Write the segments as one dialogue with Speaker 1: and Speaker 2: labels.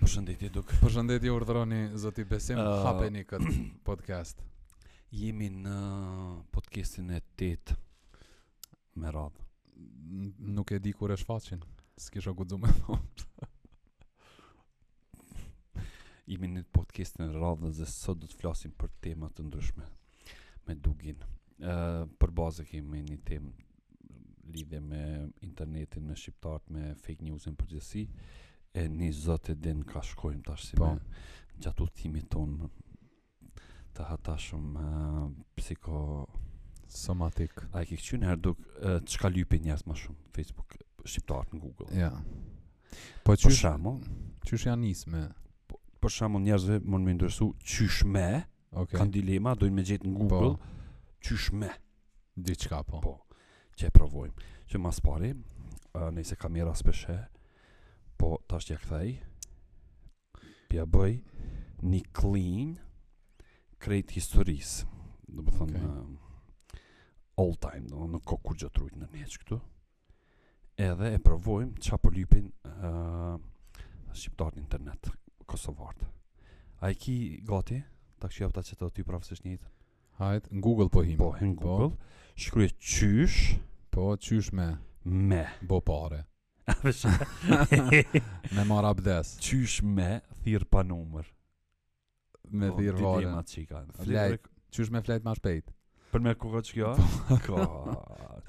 Speaker 1: përshëndetje duk.
Speaker 2: Përshëndetje urdhroni zoti Besim,
Speaker 1: Ë,
Speaker 2: hapeni këtë podcast.
Speaker 1: Jemi në podcastin e 8 me radhë.
Speaker 2: N- Nuk e di kur e shfaqin. S'kisha guxuar me thonë.
Speaker 1: Jemi në podcastin e radhës dhe sot do të flasim për tema të ndryshme me Dugin. Ë për bazë kemi një temë lidhje me internetin, me shqiptarët, me fake news-in përgjithësi. E një zot e din ka shkojmë tash si
Speaker 2: Po.
Speaker 1: me gjatë udhëtimit tonë të hatashëm ë, psiko
Speaker 2: Somatik.
Speaker 1: A e ke këqyr në herë duk e, Qka lypi njerës ma shumë Facebook Shqiptarët në Google
Speaker 2: Ja. Po
Speaker 1: Për
Speaker 2: çysh
Speaker 1: shamu
Speaker 2: çysh janë nisme.
Speaker 1: Për shamu njerëzve më në më ndërsu Qysh me
Speaker 2: Okej.
Speaker 1: Kanë dilema Dojnë me gjetë në Google
Speaker 2: Po.
Speaker 1: Qysh me
Speaker 2: Diçka po.
Speaker 1: Po Që e provojmë Që mas pari e, Nëjse kamera speshe Po tash t'ja kthej Pja bëj Një clean Krejt historis Do më thonë
Speaker 2: Okej.
Speaker 1: e, All time Do nuk ka kur gjë trujt në një këtu Edhe e provojmë Qa përlypin uh, Shqiptarët në internet Kosovartë A i ki gati Ta këshu japta që të ty prafësisht njëjtë
Speaker 2: Hajt, në Google po him.
Speaker 1: Po, hyn Google Shkruje qysh
Speaker 2: Po çysh me
Speaker 1: Me
Speaker 2: bo pare.
Speaker 1: Vesh-
Speaker 2: Me marr abdes,
Speaker 1: Qysh me thirr pa numër.
Speaker 2: me
Speaker 1: Po,
Speaker 2: thirr
Speaker 1: dilema
Speaker 2: valen.
Speaker 1: që i kanë.
Speaker 2: Flajt. Çysh me flajt më shpejt.
Speaker 1: Për me kuka që kjo?
Speaker 2: Po.
Speaker 1: Ka.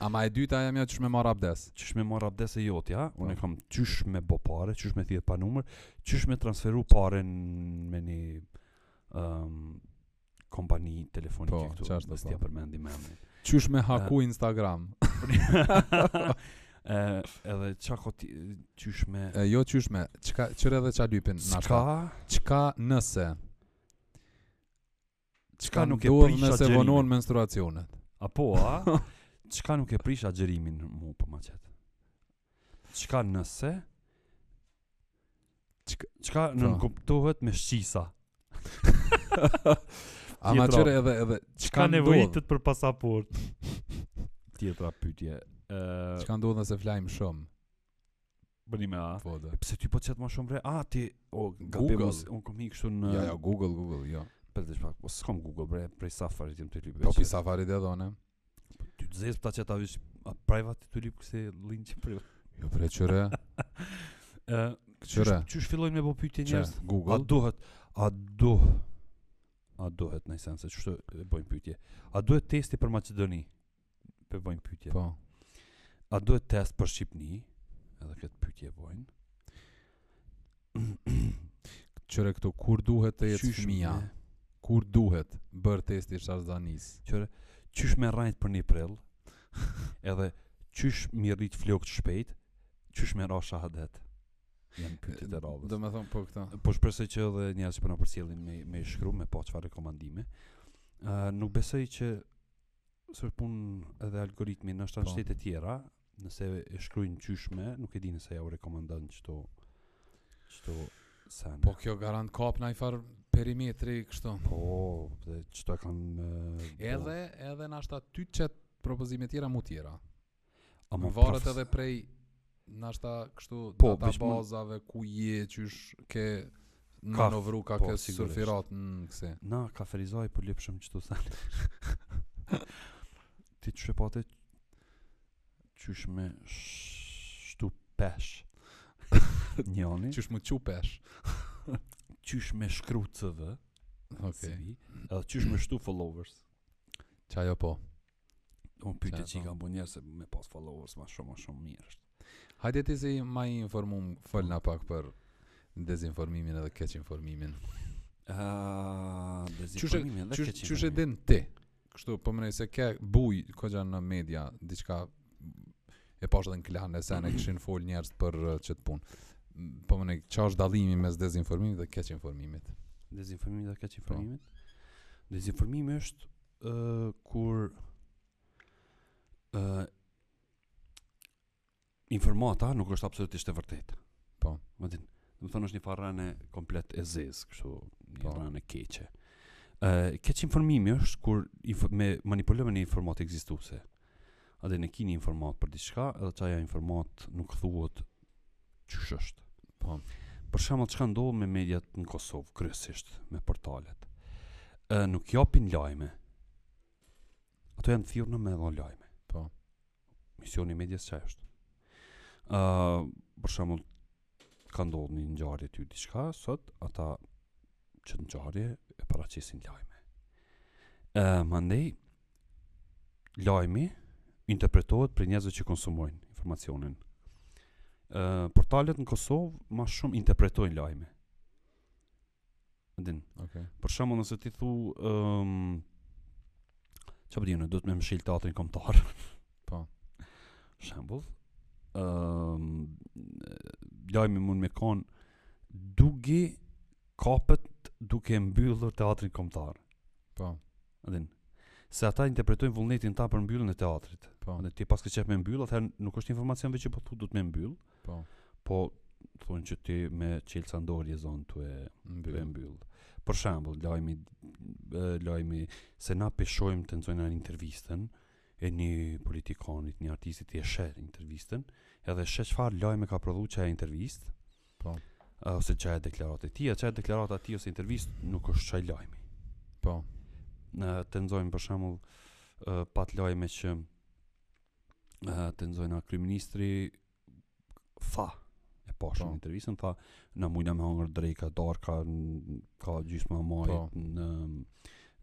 Speaker 2: Ama e dyta jam ja çysh me marr abdes.
Speaker 1: Qysh me marr abdes e jotja, ja? Unë
Speaker 2: Po.
Speaker 1: kam qysh me bo pare, qysh me thirr pa numër, qysh me transferu pare n- me një um, kompani telefonike
Speaker 2: Po,
Speaker 1: këtu.
Speaker 2: qashtu,
Speaker 1: mos t'ja
Speaker 2: po.
Speaker 1: përmendi me emrin.
Speaker 2: Çysh me haku Instagram.
Speaker 1: E, edhe qa ko ti, qysh me...
Speaker 2: E, jo çysh me çka çere dhe ç'a lypin na shka.
Speaker 1: Ska,
Speaker 2: Çka nëse
Speaker 1: Çka nuk e
Speaker 2: ndodh
Speaker 1: prisha
Speaker 2: nëse
Speaker 1: gjerimin?
Speaker 2: vonohen menstruacionet?
Speaker 1: Apo, a? Qka nuk e prish agjerimin mu për ma qetë? Qka nëse?
Speaker 2: Çka-
Speaker 3: Pra.
Speaker 1: Qka
Speaker 2: Po.
Speaker 1: nënkuptohet me shqisa?
Speaker 2: Ama
Speaker 1: Tjetra.
Speaker 2: çere edhe edhe çka
Speaker 3: Ka
Speaker 2: ndodh?
Speaker 3: nevojitet për pasaport.
Speaker 1: Tjetra pytje. Ë,
Speaker 2: Çka ndodh nëse flajm shumë?
Speaker 1: bëni me a?
Speaker 2: Po do.
Speaker 1: Pse ty po qëtë ma shumë re? A, ti, o,
Speaker 2: Google.
Speaker 1: gabim, unë kom hi kështu në...
Speaker 2: Jo, jo, Google, Google, jo.
Speaker 1: Për të shpak, po s'kom Google, bre, prej Safari tim të lypë.
Speaker 2: Po pi safari dhe dhone.
Speaker 1: Ty të zezë për ta që ta vish, a private të lypë këse linë që privat.
Speaker 2: Jo, pre çere,
Speaker 1: Ë,
Speaker 2: çere.
Speaker 1: qysh fillojnë me po pytje
Speaker 2: Çe,
Speaker 1: njerëz? A
Speaker 2: Google.
Speaker 1: duhet, a do A duhet në sens se çfarë e bëjmë pyetje. A duhet testi për Maqedoni? Për bëjmë pyetje.
Speaker 2: Po.
Speaker 1: A duhet test për Shqipni? Edhe këtë pyetje e bëjnë.
Speaker 2: Çere këtu kur duhet të jetë
Speaker 1: Qysh
Speaker 2: fëmia?
Speaker 1: me-
Speaker 2: Kur duhet bër testi sharzanis?
Speaker 1: Qyre, qysh me rrajt për një prill? Edhe qysh mi rrit flokët shpejt? Qysh me ra shahadet? Janë pyetjet e radhës.
Speaker 2: Do me thonë po këta.
Speaker 1: Po shpresoj që edhe njerëz që po na përcjellin me me shkru me pa çfarë rekomandime. Ë nuk besoj që sër pun edhe algoritmi në
Speaker 2: Po.
Speaker 1: 7 shtete tjera, nëse e shkruajnë qyshme, nuk e di nëse ja u rekomandon çto çto sen.
Speaker 2: Po kjo garant kap në i farë perimetri kështu.
Speaker 1: po dhe çto e kanë e,
Speaker 2: Edhe, edhe në ashta ty qëtë propozime tjera mu tjera.
Speaker 1: po, ama
Speaker 2: Më varet
Speaker 1: profes-
Speaker 2: edhe prej nashta kështu
Speaker 1: Po,
Speaker 2: po,
Speaker 1: veç mund-
Speaker 2: databazave ku je qysh ke
Speaker 1: Ka-
Speaker 2: manovru ka
Speaker 1: po,
Speaker 2: ke
Speaker 1: sigurisht. Mhm.
Speaker 2: surfirat në këse.
Speaker 1: na ka ferizoj po lëpshëm çto sen. Ti çfarë patë qyshme sh- shtu pesh. Njani
Speaker 2: Qysh më qupesh.
Speaker 1: qysh me shkru CV,
Speaker 2: Okej.
Speaker 1: CV, edhe qysh me shtu followers.
Speaker 2: Qa jo po.
Speaker 1: Unë pyte
Speaker 2: Qartë,
Speaker 1: që i
Speaker 2: po.
Speaker 1: kam bu njerë se me pas followers ma shumë, ma shumë mirë është.
Speaker 2: Hajde ti si ma i informum
Speaker 1: Po.
Speaker 2: folna pak për dezinformimin edhe keq informimin.
Speaker 1: Uh, dezinformimin dhe
Speaker 2: Qysh
Speaker 1: keqin.
Speaker 2: qysh e din ti? Kështu po mënej se ke buj koxha në media diçka e pash edhe në klan e sen e kishin fol njerëz për uh, çet punë. M, Po mënej çfarë është dallimi mes dezinformimit dhe keq informimit?
Speaker 1: Dezinformimin dhe
Speaker 2: Po.
Speaker 1: keqin informimin. Dezinformimi është uh, kur uh, informata nuk është absolutisht e vërtetë.
Speaker 2: Po.
Speaker 1: Më din, do të thonë është një farë rane komplet e zezë, kështu një
Speaker 2: Po.
Speaker 1: rane keqe. Ë keq informimi është kur inf me manipulojmë një informat ekzistuese. A dhe ne keni informat për diçka, edhe çaja informat nuk thuhet çysh është.
Speaker 2: Po.
Speaker 1: Për shembull çka ndodh me mediat në Kosovë kryesisht me portalet. Ë nuk japin lajme. Ato janë thirrur në me dhënë lajme.
Speaker 2: Po.
Speaker 1: Misioni i medias çfarë është? Ë për shembull ka ndodhur një ngjarje ty diçka sot, ata që të ngjarje e paraqisin lajme. Ë mandej lajmi interpretohet për njerëzve që konsumojnë informacionin. Ë portalet në Kosovë më shumë interpretojnë lajme. Ndin,
Speaker 2: Okej.
Speaker 1: për shembull nëse ti thu ëm um, çfarë bëjnë, do të më mshil teatrin kombëtar.
Speaker 2: Po.
Speaker 1: Shembull, ëm lajmi mund me kon dugi kapet duke mbyllur teatrin kombëtar.
Speaker 2: Po.
Speaker 1: Adin. Se ata interpretojnë vullnetin ta për mbylljen e teatrit.
Speaker 2: Po.
Speaker 1: Dhe ti pas ke qef me mbyll, atëherë nuk është informacion veç që po thu do të me mbyll,
Speaker 2: Po.
Speaker 1: po thonë që ti me Chelsea ndorje zonë tu e tu e
Speaker 2: Mbyll.
Speaker 1: mbyll. Për shembull, lajmi e, lajmi se na peshojmë tentojnë në intervistën e një politikanit, një artistit i e sheh intervistën, edhe sheh çfarë lajme ka prodhuar çaja intervistë.
Speaker 2: Po.
Speaker 1: A, Ose çaja deklaratë e tij, çaja deklarata e tij ose intervistë nuk është çaj lajmi
Speaker 2: Po.
Speaker 1: në tenzojnë për shembull uh, pat lajme që uh, tenzojnë na kryeministri tha e pashën
Speaker 2: Po.
Speaker 1: në intervistën tha na mujna me hangër drejka darka n- ka gjysmë e majit
Speaker 2: Po.
Speaker 1: në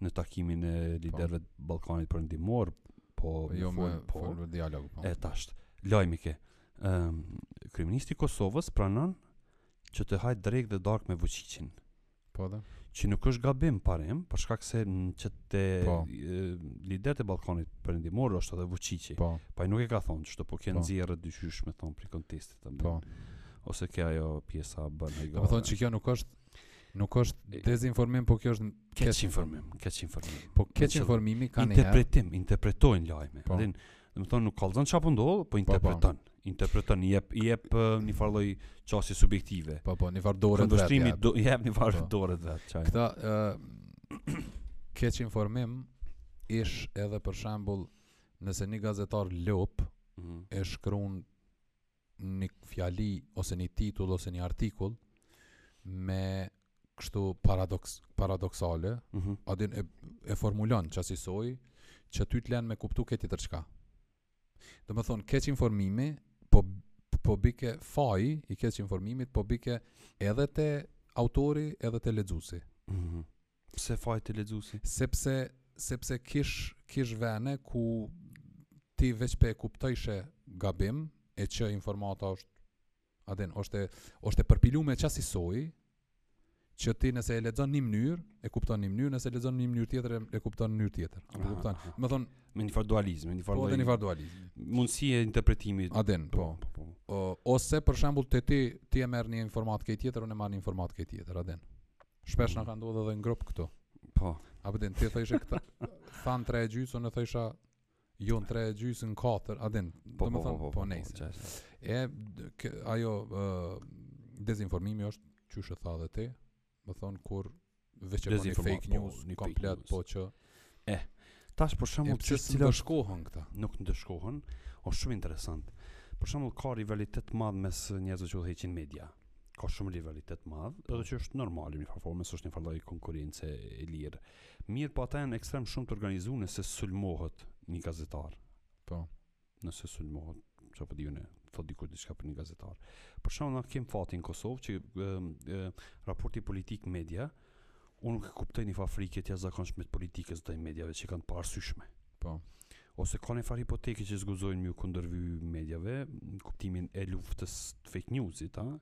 Speaker 1: në takimin e liderëve të Ballkanit përndimor, po
Speaker 2: Jo
Speaker 1: më
Speaker 2: me
Speaker 1: fol- po,
Speaker 2: folur dialog, po.
Speaker 1: e tash lajmi ke ëm kryeministri i Kosovës pranon që të hajë drejk dhe dark me Vučićin
Speaker 2: Po dhe.
Speaker 1: që nuk është gabim parim, për shkak se në që te
Speaker 2: Po.
Speaker 1: liderët e Ballkanit perëndimor është edhe Vučići.
Speaker 2: Po.
Speaker 1: Pa i nuk e ka thonë çdo po
Speaker 2: Po.
Speaker 1: kanë nxjerrë dyqysh me thon për kontestit apo.
Speaker 2: Po.
Speaker 1: Ose kjo ajo pjesa bën ai
Speaker 2: Do të thonë që kjo nuk është nuk është dezinformim, po kjo është
Speaker 1: keq informim, keq informim.
Speaker 2: Po keq informimi ka një herë.
Speaker 1: interpretim, interpretojnë lajme. Po.
Speaker 2: Po.
Speaker 1: Dhe do të thonë nuk kallzon çapo ndodh, po interpreton. Interpreton, i jep i jep ë, një farë lloj çësi subjektive.
Speaker 2: Po po, një farë dore të
Speaker 1: Kundërshtrimi do i jep një farë
Speaker 2: Po.
Speaker 1: dorë të vet çaj.
Speaker 2: Këta ë keq informim ish edhe për shembull nëse një gazetar lop
Speaker 1: Mhm.
Speaker 2: e shkruan një fjali ose një titull ose një artikull me kështu paradoks paradoksale,
Speaker 1: Mhm.
Speaker 2: adin e, e formulon që asisoj, që ty të lenë me kuptu këtë tjetër çka. Do më thonë, keq informimi, po, po bike faji i keq informimit, po bike edhe te autori edhe te lexuesi,
Speaker 1: Mhm. Pse fajti lexuesi?
Speaker 2: sepse sepse kish kish vene ku ti veç pe e kuptojshe gabim e që informata është adin, është e, është e përpiluar me çasi soi që ti nëse e lexon në një mënyrë, e kupton në një mënyrë, nëse e lexon në një mënyrë tjetër e e kupton në mënyrë tjetër. Apo
Speaker 1: Aha,
Speaker 2: kupton?
Speaker 1: aha.
Speaker 2: Më thon,
Speaker 1: Me një farë dualizmi, me një farë
Speaker 2: po edhe
Speaker 1: lloj-
Speaker 2: një farë dualizmi.
Speaker 1: mundësi e interpretimit.
Speaker 2: Adin, po.
Speaker 1: po, po.
Speaker 2: O, ose për shembull te ti ti e merr një informat ke tjetër, unë e marr një informat ke tjetër, adin. Shpesh na ka ndodhur edhe në grup këtu.
Speaker 1: Po,
Speaker 2: Apo din, ti thëshe këtë than 3 gjysë, unë thësha jo në 3 gjysë në 4, adin.
Speaker 1: po,
Speaker 2: do
Speaker 1: po,
Speaker 2: më thon,
Speaker 1: po, po,
Speaker 2: po nejse.
Speaker 1: qes.
Speaker 2: E d- kë- ajo ë, dezinformimi është qysh e tha dhe ti, më thon kur veç e bën një
Speaker 1: Dezinforma-
Speaker 2: fake
Speaker 1: po,
Speaker 2: news
Speaker 1: një fake
Speaker 2: komplet,
Speaker 1: news.
Speaker 2: po që
Speaker 1: Tash për shembull
Speaker 2: e
Speaker 1: çështë
Speaker 2: pse
Speaker 1: cila
Speaker 2: s'do shkohen këta.
Speaker 1: nuk ndëshkohen, është shumë interesant. Për shembull ka rivalitet të madh mes njerëzve që udhëheqin media. Ka shumë rivalitet të madh, edhe që është normale në një performance, është një farë lloj konkurrence e lirë. Mirë, po ata janë ekstrem shumë të organizuar nëse sulmohet një gazetar.
Speaker 2: Po.
Speaker 1: Nëse sulmohet, çfarë po diunë, thot dikur diçka për një gazetar. Për shembull, na kem fatin në Kosovë që ëm, ë, raporti politik media unë nuk e kuptoj një fafrikje të jashtëzakonshme të politikës ndaj mediave që kanë të parasyshme
Speaker 2: Po.
Speaker 1: ose ka një farë hipoteke që zguzojnë mjë kundërvy medjave në kuptimin e luftës të fake newsit, a?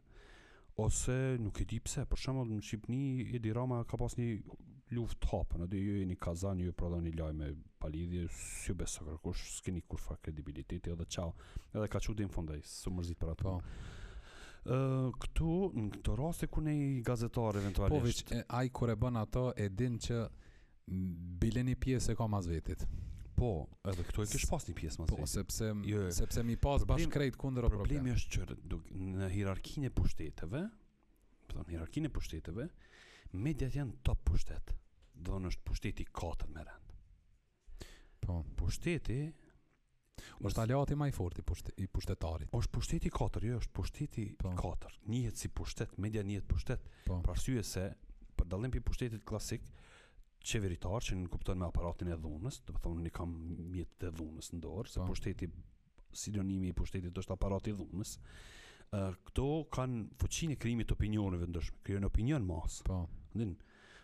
Speaker 1: Ose nuk e di pse, për shembull në Shqipëni Edi Rama ka pas një luftë të hapën, aty ju jeni jo, kazan, ju prodhoni lajme pa lidhje, s'ju beso kërkush, s'keni kur fa kredibiliteti edhe çao. Edhe ka çudin fundaj, s'u mërzit për ato.
Speaker 2: Po.
Speaker 1: Ë, këtu në këto raste ku ne i gazetar
Speaker 2: Po veç
Speaker 1: eventualisht.
Speaker 2: e- ai kur e bën ato e din që m, bile një pjesë e ka mas vetit.
Speaker 1: po, edhe këtu e kish pas një pjesë më
Speaker 2: Po, sepse m-
Speaker 1: Jo, jo.
Speaker 2: sepse mi pas bash
Speaker 1: Problem-
Speaker 2: krejt kundër o
Speaker 1: problemi
Speaker 2: problem.
Speaker 1: është që duk, në hierarkinë e pushteteve, do në hierarkinë e pushteteve, mediat janë top pushtet. Do në është pushteti katërt me rend.
Speaker 2: Po,
Speaker 1: Pushteti
Speaker 2: Është aleati më i fortë i, pushte, i pushtetarit.
Speaker 1: është pushteti i katër, jo, është pushteti i
Speaker 2: Po.
Speaker 1: katër. Njihet si pushtet, media njihet pushtet,
Speaker 2: Po.
Speaker 1: për arsye se për dallim për pushtetit klasik qeveritar që nuk kupton me aparatin e dhunës, do të thonë ne kam mjetet e dhunës në dorë, se
Speaker 2: Po.
Speaker 1: pushteti sinonimi i pushtetit është aparati i dhunës. Ë këto kanë fuqinë e krijimit të opinioneve ndryshme, krijojnë opinion mas.
Speaker 2: Po.
Speaker 1: Ndin,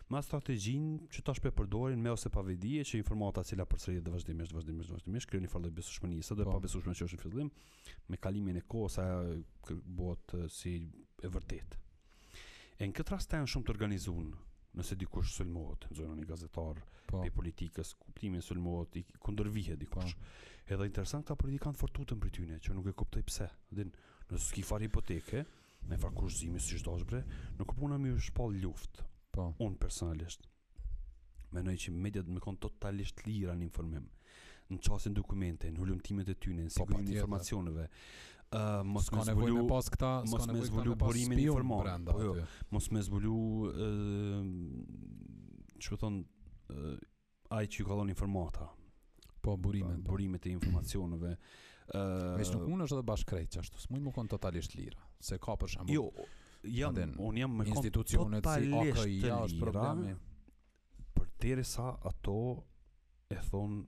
Speaker 1: ma strategjin që tash pe përdorin me ose pa vedije që informata e cila përsëritet dhe vazhdimisht, vazhdimisht, vazhdimisht krijon një farë lloj besueshmënisë dhe
Speaker 2: Po.
Speaker 1: pa besueshmëri që është në fillim, me kalimin e kohës ajo kë- bëhet eh, si e vërtetë. E në këtë rast janë shumë të organizuar. Nëse dikush sulmohet, zonë një gazetar,
Speaker 2: Po.
Speaker 1: pe politikës, kuptimin sulmohet, i kundërvihet dikush.
Speaker 2: Po.
Speaker 1: Edhe interesant ka politikan fortutën për tyne, që nuk e kuptoj pse. Din, nëse s'ki farë hipoteke, me farë kushëzimi si qdo bre, nuk puna mi është shpall luftë,
Speaker 2: Po.
Speaker 1: unë personalisht menoj që mediat me konë totalisht lira në informim në qasin dokumente, në hulumtimet e tyne, në sigurimin e
Speaker 2: Po, patjetër.
Speaker 1: informacioneve. Ë mos
Speaker 2: S'ka
Speaker 1: me
Speaker 2: nevojë me
Speaker 1: zbulu,
Speaker 2: pas këta,
Speaker 1: mos
Speaker 2: s'ka
Speaker 1: me
Speaker 2: nevojë këta
Speaker 1: zvolu
Speaker 2: me pas
Speaker 1: burimin
Speaker 2: spion
Speaker 1: informal,
Speaker 2: brenda
Speaker 1: po jo.
Speaker 2: aty.
Speaker 1: mos me zbulu ë çu thon ë ai që ju ka dhënë informata,
Speaker 2: Po burimin. po.
Speaker 1: burimet e informacioneve. ë
Speaker 2: Veç nuk mund është edhe bashkëkrejt që ashtu, s'mund më konë totalisht lira, se ka për shembull
Speaker 1: Jo, jam,
Speaker 2: Aden,
Speaker 1: unë jam me kon
Speaker 2: institucionet si
Speaker 1: totalisht
Speaker 2: AKI
Speaker 1: të
Speaker 2: ja është
Speaker 1: lira,
Speaker 2: problemi.
Speaker 1: për teri sa ato e thonë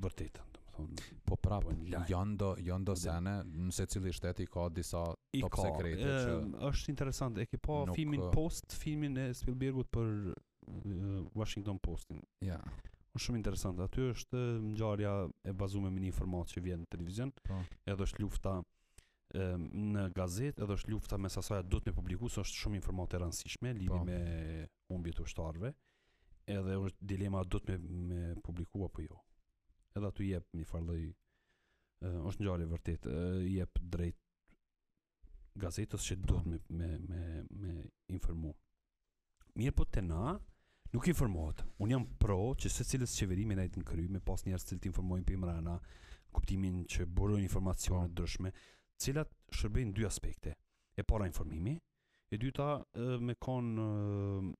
Speaker 1: vërtetën, domethënë
Speaker 2: Po prapë,
Speaker 1: Po, lajm.
Speaker 2: janë do, janë do
Speaker 1: Aden.
Speaker 2: sene, në se cili shteti ka disa
Speaker 1: i
Speaker 2: top
Speaker 1: ka.
Speaker 2: sekrete
Speaker 1: e,
Speaker 2: që
Speaker 1: Është interesant, e ke pa
Speaker 2: nuk-
Speaker 1: filmin Post, filmin e Spielbergut për e, Washington Postin.
Speaker 2: ja,
Speaker 1: Është shumë interesant. Aty është e, ngjarja e bazuar me një informat që vjen në televizion,
Speaker 2: Po.
Speaker 1: edhe është lufta e, në gazetë, edhe është lufta mes asaj do të me publiku, se është shumë informatë e rëndësishme lidhi
Speaker 2: Po.
Speaker 1: me humbjet e ushtarëve, edhe është dilema a do të me, me publiku apo jo. Edhe aty jep një farë lloj e, është ngjarje vërtet, e, jep drejt gazetës që do
Speaker 2: Po.
Speaker 1: të me me me me informu. Mirë po te na nuk informohet. Unë jam pro që secilës qeveri me nejtë në kry, me pas njerëz që të informojnë për mrena, kuptimin që burojnë informacione të
Speaker 2: Po.
Speaker 1: ndryshme, cilat shërbejnë dy aspekte. E para informimi, e dyta e, me kon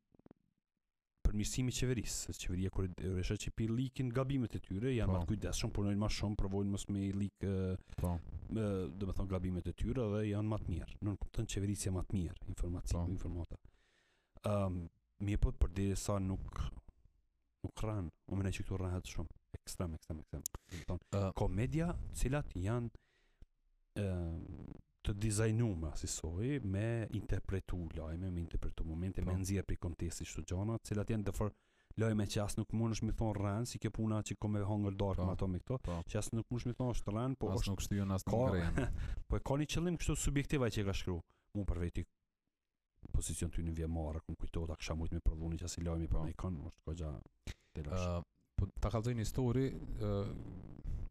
Speaker 1: përmirësimi i qeverisë. Se Qeveria kur e rreshet që pi likin gabimet e tyre, janë
Speaker 2: Po.
Speaker 1: më të kujdesshëm, punojnë më shumë, provojnë mos me i lik e,
Speaker 2: po,
Speaker 1: me, do të thonë gabimet e tyre dhe janë më të mirë. Nën kupton qeverisja më të mirë, informaci,
Speaker 2: Po.
Speaker 1: informata. Ëm, mirë po përderisa nuk nuk rran, unë mendoj që këtu rrahet shumë. Ekstrem, ekstrem, ekstrem. Do të thonë,
Speaker 2: ë,
Speaker 1: komedia, të cilat janë ëm të dizajnuara si soi me interpretu lajme, me interpretu momente, me
Speaker 2: Po.
Speaker 1: nxjerr prej konteksti çdo gjëna, të cilat janë dëfor lajme që as nuk mundesh mi thon rran, si kjo puna që kom me hangër darkë
Speaker 2: Po.
Speaker 1: me ato me këto,
Speaker 2: Po.
Speaker 1: që as nuk mundesh mi thon është rran, po
Speaker 2: as
Speaker 1: është
Speaker 2: nuk shtyon as
Speaker 1: ka-
Speaker 2: nuk rren.
Speaker 1: Po e ka një qëllim kështu subjektiv ai që e ka shkruar. Mu për veti pozicion ty në vjemarë, ku më kujtohet a kisha mujtë me prodhuni që asi lajmi për
Speaker 2: Po.
Speaker 1: me kanë, është kogja telash.
Speaker 2: Ë, po ta kallzoj një histori, ë,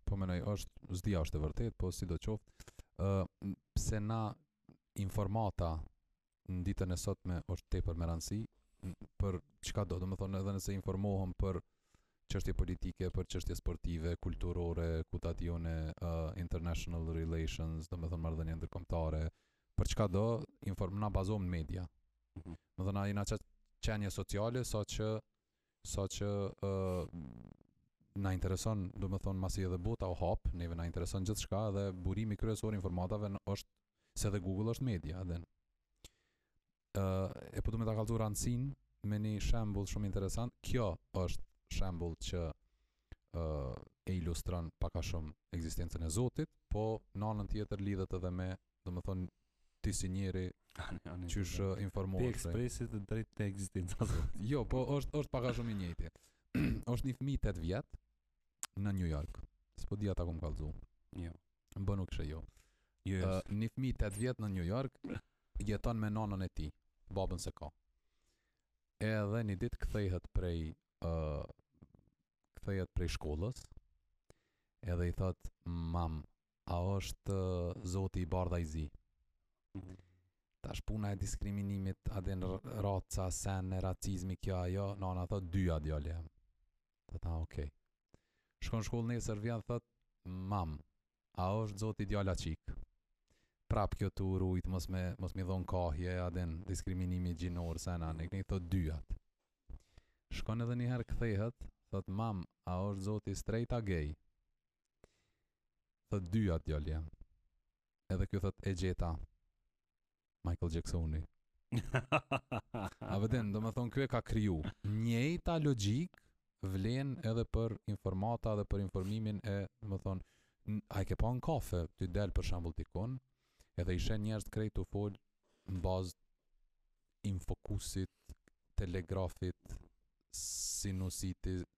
Speaker 2: po mendoj është s'di a është e vërtet, po sidoqoftë, ë, n- pse na informata në ditën e sotme është tepër me rëndësi n- për çka do, domethënë edhe nëse informohem për çështje politike, për çështje sportive, kulturore, kutatione, uh, international relations, domethënë marrëdhënie ndërkombëtare, për çka do, inform na bazohem në media.
Speaker 1: Mhm.
Speaker 2: Do thënë na jena çat çënje sociale, saqë saqë uh, na intereson, domethënë masi edhe bota u hap, neve na intereson gjithçka dhe burimi kryesor i informatave në- është se edhe Google është media, edhe ë e po duhet ta kallëzoj rancin me një shembull shumë interesant. Kjo është shembull që ë e ilustron pak a shumë ekzistencën e Zotit, po në anën tjetër lidhet edhe me, domethënë ti si njeri qysh ë,
Speaker 1: Te
Speaker 2: informohesh. prej-
Speaker 1: ekspresit të drejt të eksistencës.
Speaker 2: Jo, po është është pak a shumë i njëjti. është një fëmijë 8 vjet në New York. S'po dia ta kum kallëzu.
Speaker 1: Jo.
Speaker 2: Më bën u këshë jo.
Speaker 1: Jo,
Speaker 2: Ë, një fëmijë 8 vjet në New York jeton me nanën e tij, babën se ka. Edhe një ditë kthehet prej ë kthehet prej shkollës. Edhe i thot mam, a është ë, zoti i bardha i zi?
Speaker 1: Mhm.
Speaker 2: Tash puna e diskriminimit, a den r- raca, sen, racizmi, kjo ajo, nana thot dyja djali jam. Thot, a, okej. Shkon shkollë nesër vjen thot, mam, a është zoti djala qik? Prap kjo të urujt, mos me, mos me dhonë kahje, a den diskriminimi gjinor, sen, anë, këni thot dyjat. Shkon edhe njëherë kthehet, thot, mam, a është zoti straight a gay? Thot dyja djalë jam. Edhe ky thot e gjeta. Michael Jacksoni. A vëden, do me thonë kjo e ka kriju. Njëjta logjik vlen edhe për informata dhe për informimin e, do me thonë, n- a i ke pa në kafe, ty del për shambull dikon, edhe ishe njerëz krejt u fol në bazë infokusit, telegrafit, sinusitit,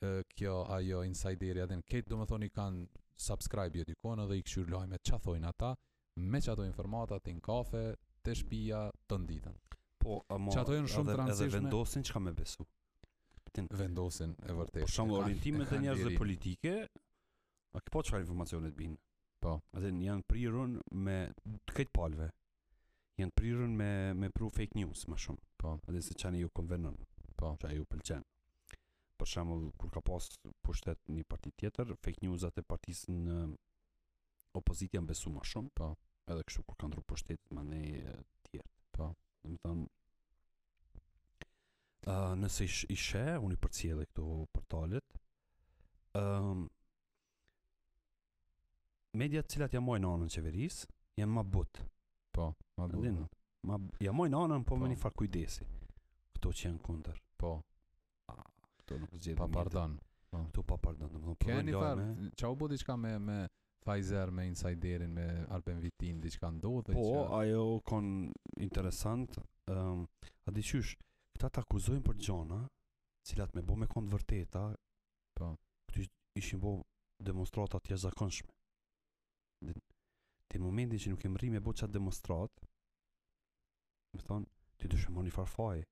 Speaker 2: e, kjo ajo insideri atë këtë do me thonë i kanë subscribe jo dikon edhe i këshyrë lajme që thojnë ata me që ato informata ti në kafe të shpia të nditën
Speaker 1: po, ama
Speaker 2: Që ato janë shumë të
Speaker 1: edhe, edhe
Speaker 2: rëndësishme.
Speaker 1: vendosin çka me besu.
Speaker 2: vendosin e vërtetë.
Speaker 1: Për shembull,
Speaker 2: E kanë-
Speaker 1: orientimet e
Speaker 2: kanë
Speaker 1: njerëzve
Speaker 2: deri.
Speaker 1: politike, a ke po çfarë informacione të bin?
Speaker 2: Po.
Speaker 1: Atë janë prirun me të këtë palve. Janë prirun me me pru fake news më shumë.
Speaker 2: Po.
Speaker 1: Atë se çani ju konvenon,
Speaker 2: Po,
Speaker 1: çka ju pëlqen. Për shembull, kur ka pas pushtet një parti tjetër, fake newsat e partisë në opozitë janë besu më shumë.
Speaker 2: Po.
Speaker 1: Edhe kështu kur kanë ndru pushtetit më ne tjerë.
Speaker 2: Po.
Speaker 1: Do të thonë Uh, nëse ish, ishe, unë i përcjellë këto portalet, um, mediat cilat ja mojnë anën qeveris, janë ma but,
Speaker 2: po, ma
Speaker 1: A
Speaker 2: duhet.
Speaker 1: din? ma, ja mojnë anën po,
Speaker 2: Po.
Speaker 1: me një farë kujdesi. Këto që janë kunder,
Speaker 2: Po,
Speaker 1: këto nuk zgjedhin.
Speaker 2: pa
Speaker 1: mediat.
Speaker 2: pardon.
Speaker 1: Këto pa pardon, domethënë po
Speaker 2: Keni
Speaker 1: vënë
Speaker 2: far,
Speaker 1: lajme.
Speaker 2: çau u bë diçka me me Pfizer, me Insiderin, me Alpen Vitin, diçka ndodhi
Speaker 1: Po,
Speaker 2: që
Speaker 1: ajo kon interesant, um, a di qysh, këta të akuzojnë për gjona, cilat me bo me kon të vërteta,
Speaker 2: Po.
Speaker 1: këty ishin bo demonstrata të jashtëzakonshme. Dhe te momenti që nuk e mri me bo qatë demonstrat, më thonë, ti të shëmon një farfaj,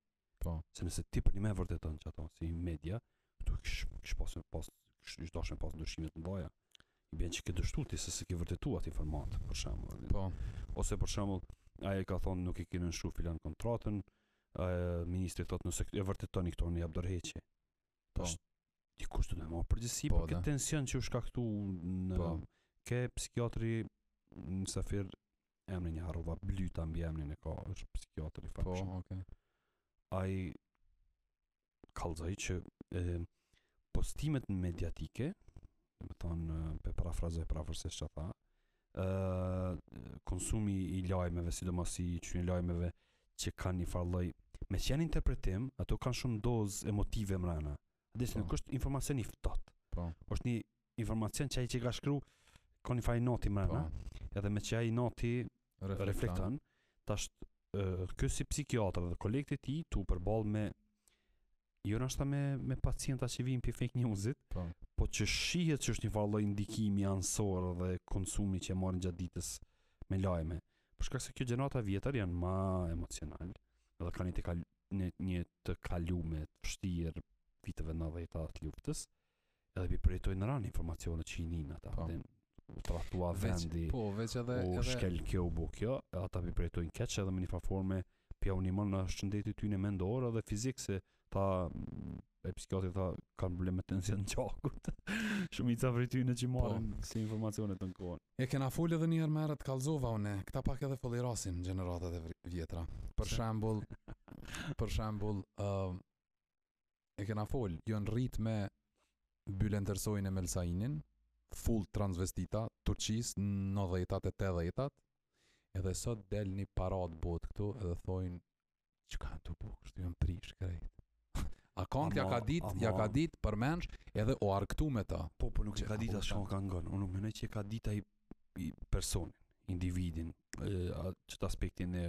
Speaker 2: po,
Speaker 1: se nëse ti për një me vërteton që ato, si media, këtu kish, kish pas, pas, kish, kish dashme pas ndryshimet në baja, i bjen që ke dështu ti se se ke vërtetu atë informat, për shembull. edhe-
Speaker 2: po,
Speaker 1: ose për shembull ai ka thonë nuk e keni nënshtruar filan kontratën, ë ministri thotë nëse e vërtetoni këto në jap dorëheqje.
Speaker 2: po,
Speaker 1: Tash, Dikush do të marrë përgjegjësi
Speaker 2: Po,
Speaker 1: për këtë
Speaker 2: da.
Speaker 1: tension që u shkaktu në
Speaker 2: Po.
Speaker 1: ke psikiatri në Safir emrin e harrova blyta mbi emrin e ka është psikiatri
Speaker 2: po,
Speaker 1: fakshëm.
Speaker 2: okay.
Speaker 1: Ai kallzoi që e, postimet mediatike, do të thonë e, pe parafrazoj prafërsisht çfarë tha, ë konsumi i lajmeve, sidomos i çunë lajmeve që kanë një farë lloj me që janë interpretim, ato kanë shumë dozë emotive mrena. Dhe
Speaker 2: Po.
Speaker 1: se nuk është informacion i ftohtë.
Speaker 2: Po.
Speaker 1: Është një informacion që ai që ka shkruar ka një farë noti mrena,
Speaker 2: Po.
Speaker 1: edhe me që ai noti reflekton, tash ë, ky si psikiatër dhe kolekti i tij tu përball me jo nashta me me pacienta që vijnë për fake newsit,
Speaker 2: Po.
Speaker 1: po që shihet që është një vallë ndikimi ansor dhe konsumi që e marrin gjatë ditës me lajme. Për shkak se kjo gjenata vjetër janë më emocional, edhe kanë një të kal një, një të kalume të vështirë viteve 90-ta të luftës, edhe i përjetojnë rani informacione që i nin ata.
Speaker 2: Po.
Speaker 1: Po. U trahtua
Speaker 2: Veç,
Speaker 1: vendi
Speaker 2: po, veç edhe
Speaker 1: u
Speaker 2: edhe
Speaker 1: shkel kjo u bu kjo, ata vi përjetojnë keq edhe me një farë forme pja unimon në shëndetit ty në mendor edhe fizik se ta mm, e psikiatri ta kanë probleme me tension në gjakut. Shumica prej tyne që marrin si informacione të nkohen.
Speaker 2: E kena fol edhe një herë më herët kallzova unë. Këta pak edhe folirasin gjeneratat e vri- vjetra. Për
Speaker 1: Se-
Speaker 2: shembull, për shembull, ë e kena fol, janë rrit me Bylen Tersojin e Melsainin, full transvestita, Turqis në 90-tat e 80-tat, edhe sot del një parat bot këtu edhe thojnë çka të bu, kështu janë prish krejt. A kanë ja
Speaker 1: Ama-
Speaker 2: ka dit, ja ka
Speaker 1: ama-
Speaker 2: dit përmendsh edhe o arktu me ta.
Speaker 1: Po, po nuk
Speaker 2: Që-
Speaker 1: e ka
Speaker 2: apo
Speaker 1: ditë
Speaker 2: ta-
Speaker 1: as shumë ka ngon. Unë nuk mendoj që e ka ditë ai i personin, individin, e, a- çt aspektin e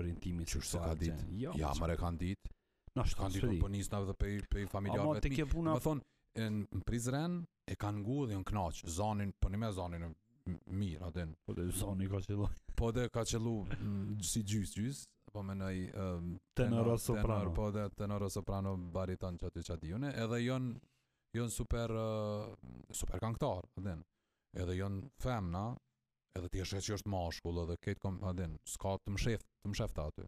Speaker 1: orientimit
Speaker 2: Qysh se ka
Speaker 1: seksual që-
Speaker 2: ditë?
Speaker 1: Jo,
Speaker 2: Ja, më kanë dit.
Speaker 1: na
Speaker 2: Kanë
Speaker 1: shkan
Speaker 2: ditur
Speaker 1: ditë po
Speaker 2: për nisna dhe për për
Speaker 1: Ama
Speaker 2: familjarëve
Speaker 1: te
Speaker 2: të mi.
Speaker 1: kjo puna
Speaker 2: Më thon në Prizren e kanë ngu dhe janë knaq. Zanin, po ne me zanin e m- mirë atë.
Speaker 1: po te zoni ka qelloj.
Speaker 2: Po dhe ka qellu m, si gjys gjys, po më nëj
Speaker 1: Tenor soprano.
Speaker 2: po dhe tenor soprano bariton që aty që diune, edhe janë janë super eh, super këngëtar, atë. Edhe janë femna, edhe ti e sheh që është mashkull edhe këtë kom atë. S'ka të mshef, të mshefta aty.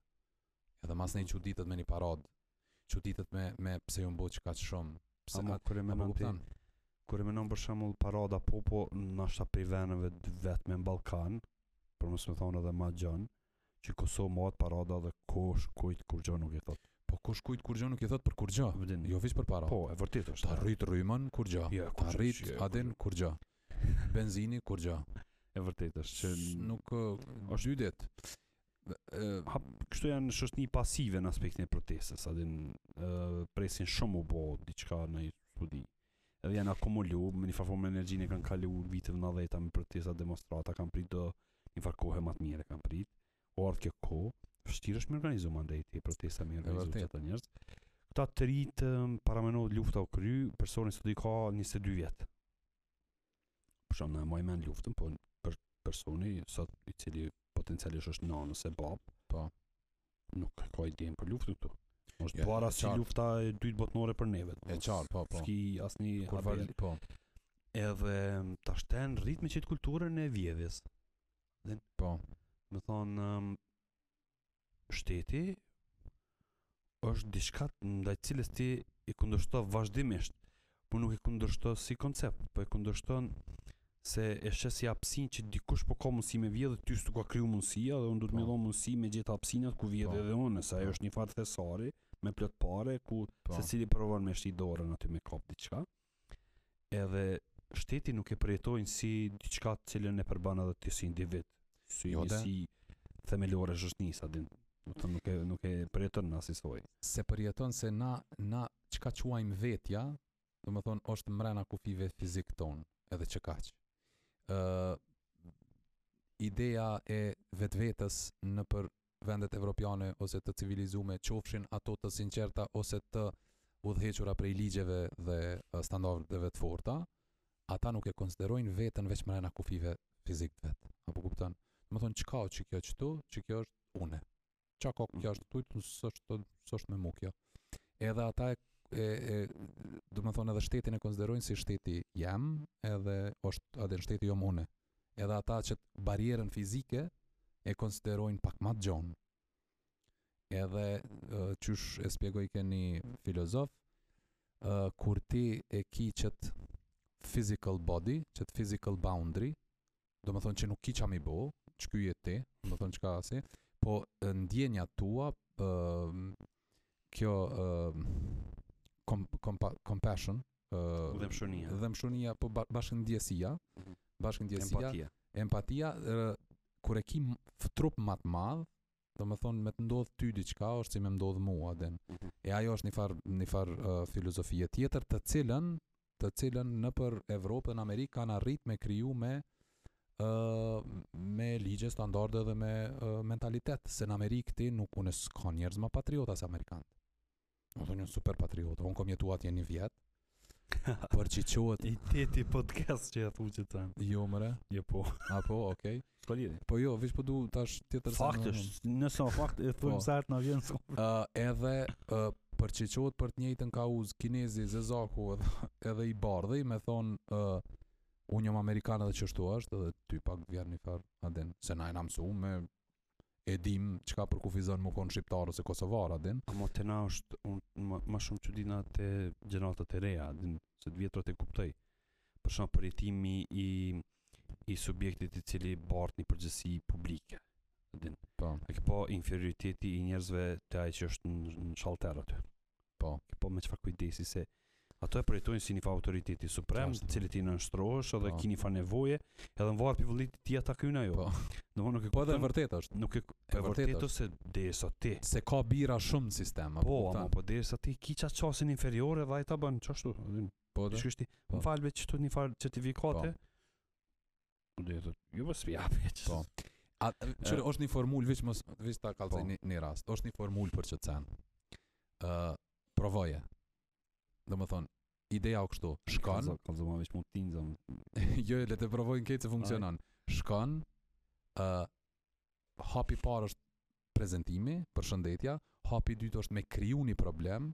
Speaker 2: Edhe mas ne çuditet me një parad, çuditet me me pse ju mbo çka shumë. Pse
Speaker 1: Ama
Speaker 2: atë
Speaker 1: kur e
Speaker 2: apo
Speaker 1: mendon ti,
Speaker 2: kupton?
Speaker 1: kur e menon për shembull parada popo ndoshta prej vendeve të vetme në Ballkan, për mos më thonë edhe ma gjon, që Kosovë mohat parada dhe kush kujt kur gjë nuk e thot.
Speaker 2: Po kush kujt kur gjë nuk i thot për kur gjë.
Speaker 1: Vëdin.
Speaker 2: Ah, Jo veç për para.
Speaker 1: Po, e vërtet është.
Speaker 2: ta rrit rrymën kur gjë.
Speaker 1: Jo,
Speaker 2: Ta
Speaker 1: kur gjë,
Speaker 2: rrit
Speaker 1: jo, kur
Speaker 2: aden kur gjë. Benzini kur gjë.
Speaker 1: E vërtetë është që
Speaker 2: S-
Speaker 1: n-
Speaker 2: Nuk ë, është ydet. Ë,
Speaker 1: hap, kështu janë shoshni pasive në aspektin e protestës, a din ë, presin shumë u bë diçka në një studi. Edhe janë akumulu, me një farformë energjinë e kanë kalu vitet 90 me protesta, demonstrata, kanë prit do një farë kohë më të mirë kanë prit. U ardh kjo kohë, vështirë është me organizu mandej ti protesta me organizu
Speaker 2: vërtet.
Speaker 1: çata njerëz. Këta të ritë paramenohet lufta u kry, personi sot i ka 22 vjet. Për shumë në maj me në luftën, po për personi sot i cili potencialisht është nën ose bab,
Speaker 2: Po.
Speaker 1: nuk ka idenë për luftën këtu. Është
Speaker 2: Ja,
Speaker 1: para
Speaker 2: e
Speaker 1: si
Speaker 2: qartë.
Speaker 1: lufta e dytë botnore për neve.
Speaker 2: e qartë, po, po.
Speaker 1: Ski asnjë
Speaker 2: Kur
Speaker 1: haber.
Speaker 2: val, po,
Speaker 1: Edhe mm, tash ten ritmi që të kulturën e vjedhjes.
Speaker 2: po.
Speaker 1: Më thonë um, shteti është diçka ndaj cilës ti i kundërshton vazhdimisht, por nuk i kundërshton si koncept, po e kundërshton se e shes si hapësinë që dikush po ka mundësi me vjedhë, ty s'u ka kriju mundësia dhe unë duhet
Speaker 2: Po.
Speaker 1: më dhon mundësi me gjetë hapësinat ku vjedhë
Speaker 2: Po.
Speaker 1: edhe unë, se ajo
Speaker 2: Po.
Speaker 1: është një farë thesari me plot pare ku
Speaker 2: Po.
Speaker 1: secili provon me shti dorën aty me kap diçka. Edhe shteti nuk e përjetojnë si diçka të cilën e përban edhe ti si individ, si
Speaker 2: Jo, de.
Speaker 1: si themelore shoqënisë atë. Do të thonë nuk e nuk e përjeton në asisoj.
Speaker 2: Se përjeton se na na çka quajmë vetja, do të thonë është mrena kufive fizik ton, edhe që kaq. Ë ideja e vetvetes në për vendet evropiane ose të civilizume qofshin ato të sinqerta ose të udhëhequra prej ligjeve dhe ë, standardeve të forta, ata nuk e konsiderojnë veten veç mrena kufive fizik vet. Apo kupton? Do të thonë çka o që kjo çtu, që kjo është une qa ka kjo është tujt, s'është s'është me mu kjo. Edhe ata e, e, e do të thonë edhe shtetin e konsiderojnë si shteti jam, edhe është atë shteti jom une. Edhe ata që barierën fizike e konsiderojnë pak më të gjon. Edhe e, qysh e shpjegoi ke një filozof, e, kur ti e ki qët physical body, qët physical boundary, do më thonë që nuk ki qa mi bo, që ky je ti, do më thonë që ka asi, po e, ndjenja tua ë, kjo ë, kom, kompa, compassion
Speaker 1: Po,
Speaker 2: ë,
Speaker 1: Udhëmshunia.
Speaker 2: udhëmshunia, po ba, bashkëndjesia
Speaker 1: Mhm.
Speaker 2: bashkëndjesia
Speaker 1: Empatia.
Speaker 2: empatia ë, kur e ki m- f- trup më të madh do më thonë me të ndodh ty diçka është si me ndodh mua den
Speaker 1: Mhm.
Speaker 2: e ajo është një farë një far, uh, filozofie tjetër të cilën të cilën në për Evropën, Amerikë kanë arrit me kriju me uh, me ligje standarde dhe me uh, mentalitet se në Amerikë ti nuk unë s'ka njerëz më patriota se amerikanë. Unë thonë unë super patriot, unë kom jetu atje një vjet, për që qohet,
Speaker 1: I teti podcast që ja thuçi të
Speaker 2: jo mëre,
Speaker 1: Jo po.
Speaker 2: apo, okej,
Speaker 1: S'ka lidhje.
Speaker 2: po jo, vish po du tash tjetër se
Speaker 1: Fakt
Speaker 2: në-
Speaker 1: është, nëse në fakt e
Speaker 2: Po.
Speaker 1: thujmë sa herë na vjen s'ka.
Speaker 2: Ë, edhe uh, për që qohet për të njëjtën kauz kinezi, zezaku edhe, edhe i bardhi me thonë uh, unë jam amerikan edhe qështu është edhe ty pak vjen një farë adin se na e na mësu me e dim çka përkufizon më konë shqiptar ose kosovar adin
Speaker 1: Amo të na është unë ma- ma shumë që dina të gjenatat e reja, din, se të vjetrat e kuptoj. Për shumë përjetimi i, i subjektit i cili bart një përgjësi publike. Din.
Speaker 2: Po.
Speaker 1: E ke po inferioriteti i njerëzve të ai që është në, në shalter aty.
Speaker 2: Po.
Speaker 1: Ke po me çfarë kujdesi se ato e përjetojnë si një fa autoriteti suprem,
Speaker 2: Qartë.
Speaker 1: të cilit i nënshtrohesh edhe
Speaker 2: Po.
Speaker 1: kini fa nevoje, edhe në varë për vëllit ti ata kyn ajo.
Speaker 2: Po.
Speaker 1: Domthonë nuk e
Speaker 2: po edhe
Speaker 1: kupton-
Speaker 2: vërtet është
Speaker 1: nuk e,
Speaker 2: e
Speaker 1: e
Speaker 2: vërtet
Speaker 1: vërtetë se derisa ti
Speaker 2: se ka bira shumë në sistem apo
Speaker 1: Po,
Speaker 2: kupton?
Speaker 1: ama po derisa ti ki qa qasin inferiore dhe ai ta bën çashtu.
Speaker 2: po
Speaker 1: Ti
Speaker 2: dhe?
Speaker 1: shkështi,
Speaker 2: Po.
Speaker 1: më falbe që tu një farë certifikate. Dhe thotë, ju po s'pjapi.
Speaker 2: Po. A, qëre, është një formulë, veç mos, veç ta kalzaj
Speaker 1: Po.
Speaker 2: një, një rast, është një formulë për që të sen. Uh, provoje. Dhe më thonë, ideja o kështu, shkon,
Speaker 1: Ka zëma veç mund t'in zëm.
Speaker 2: jo, le të provojnë kejtë se funksionon. Shkon, uh, hapi parë është prezentimi, për shëndetja, hapi dytë është me kriju një problem,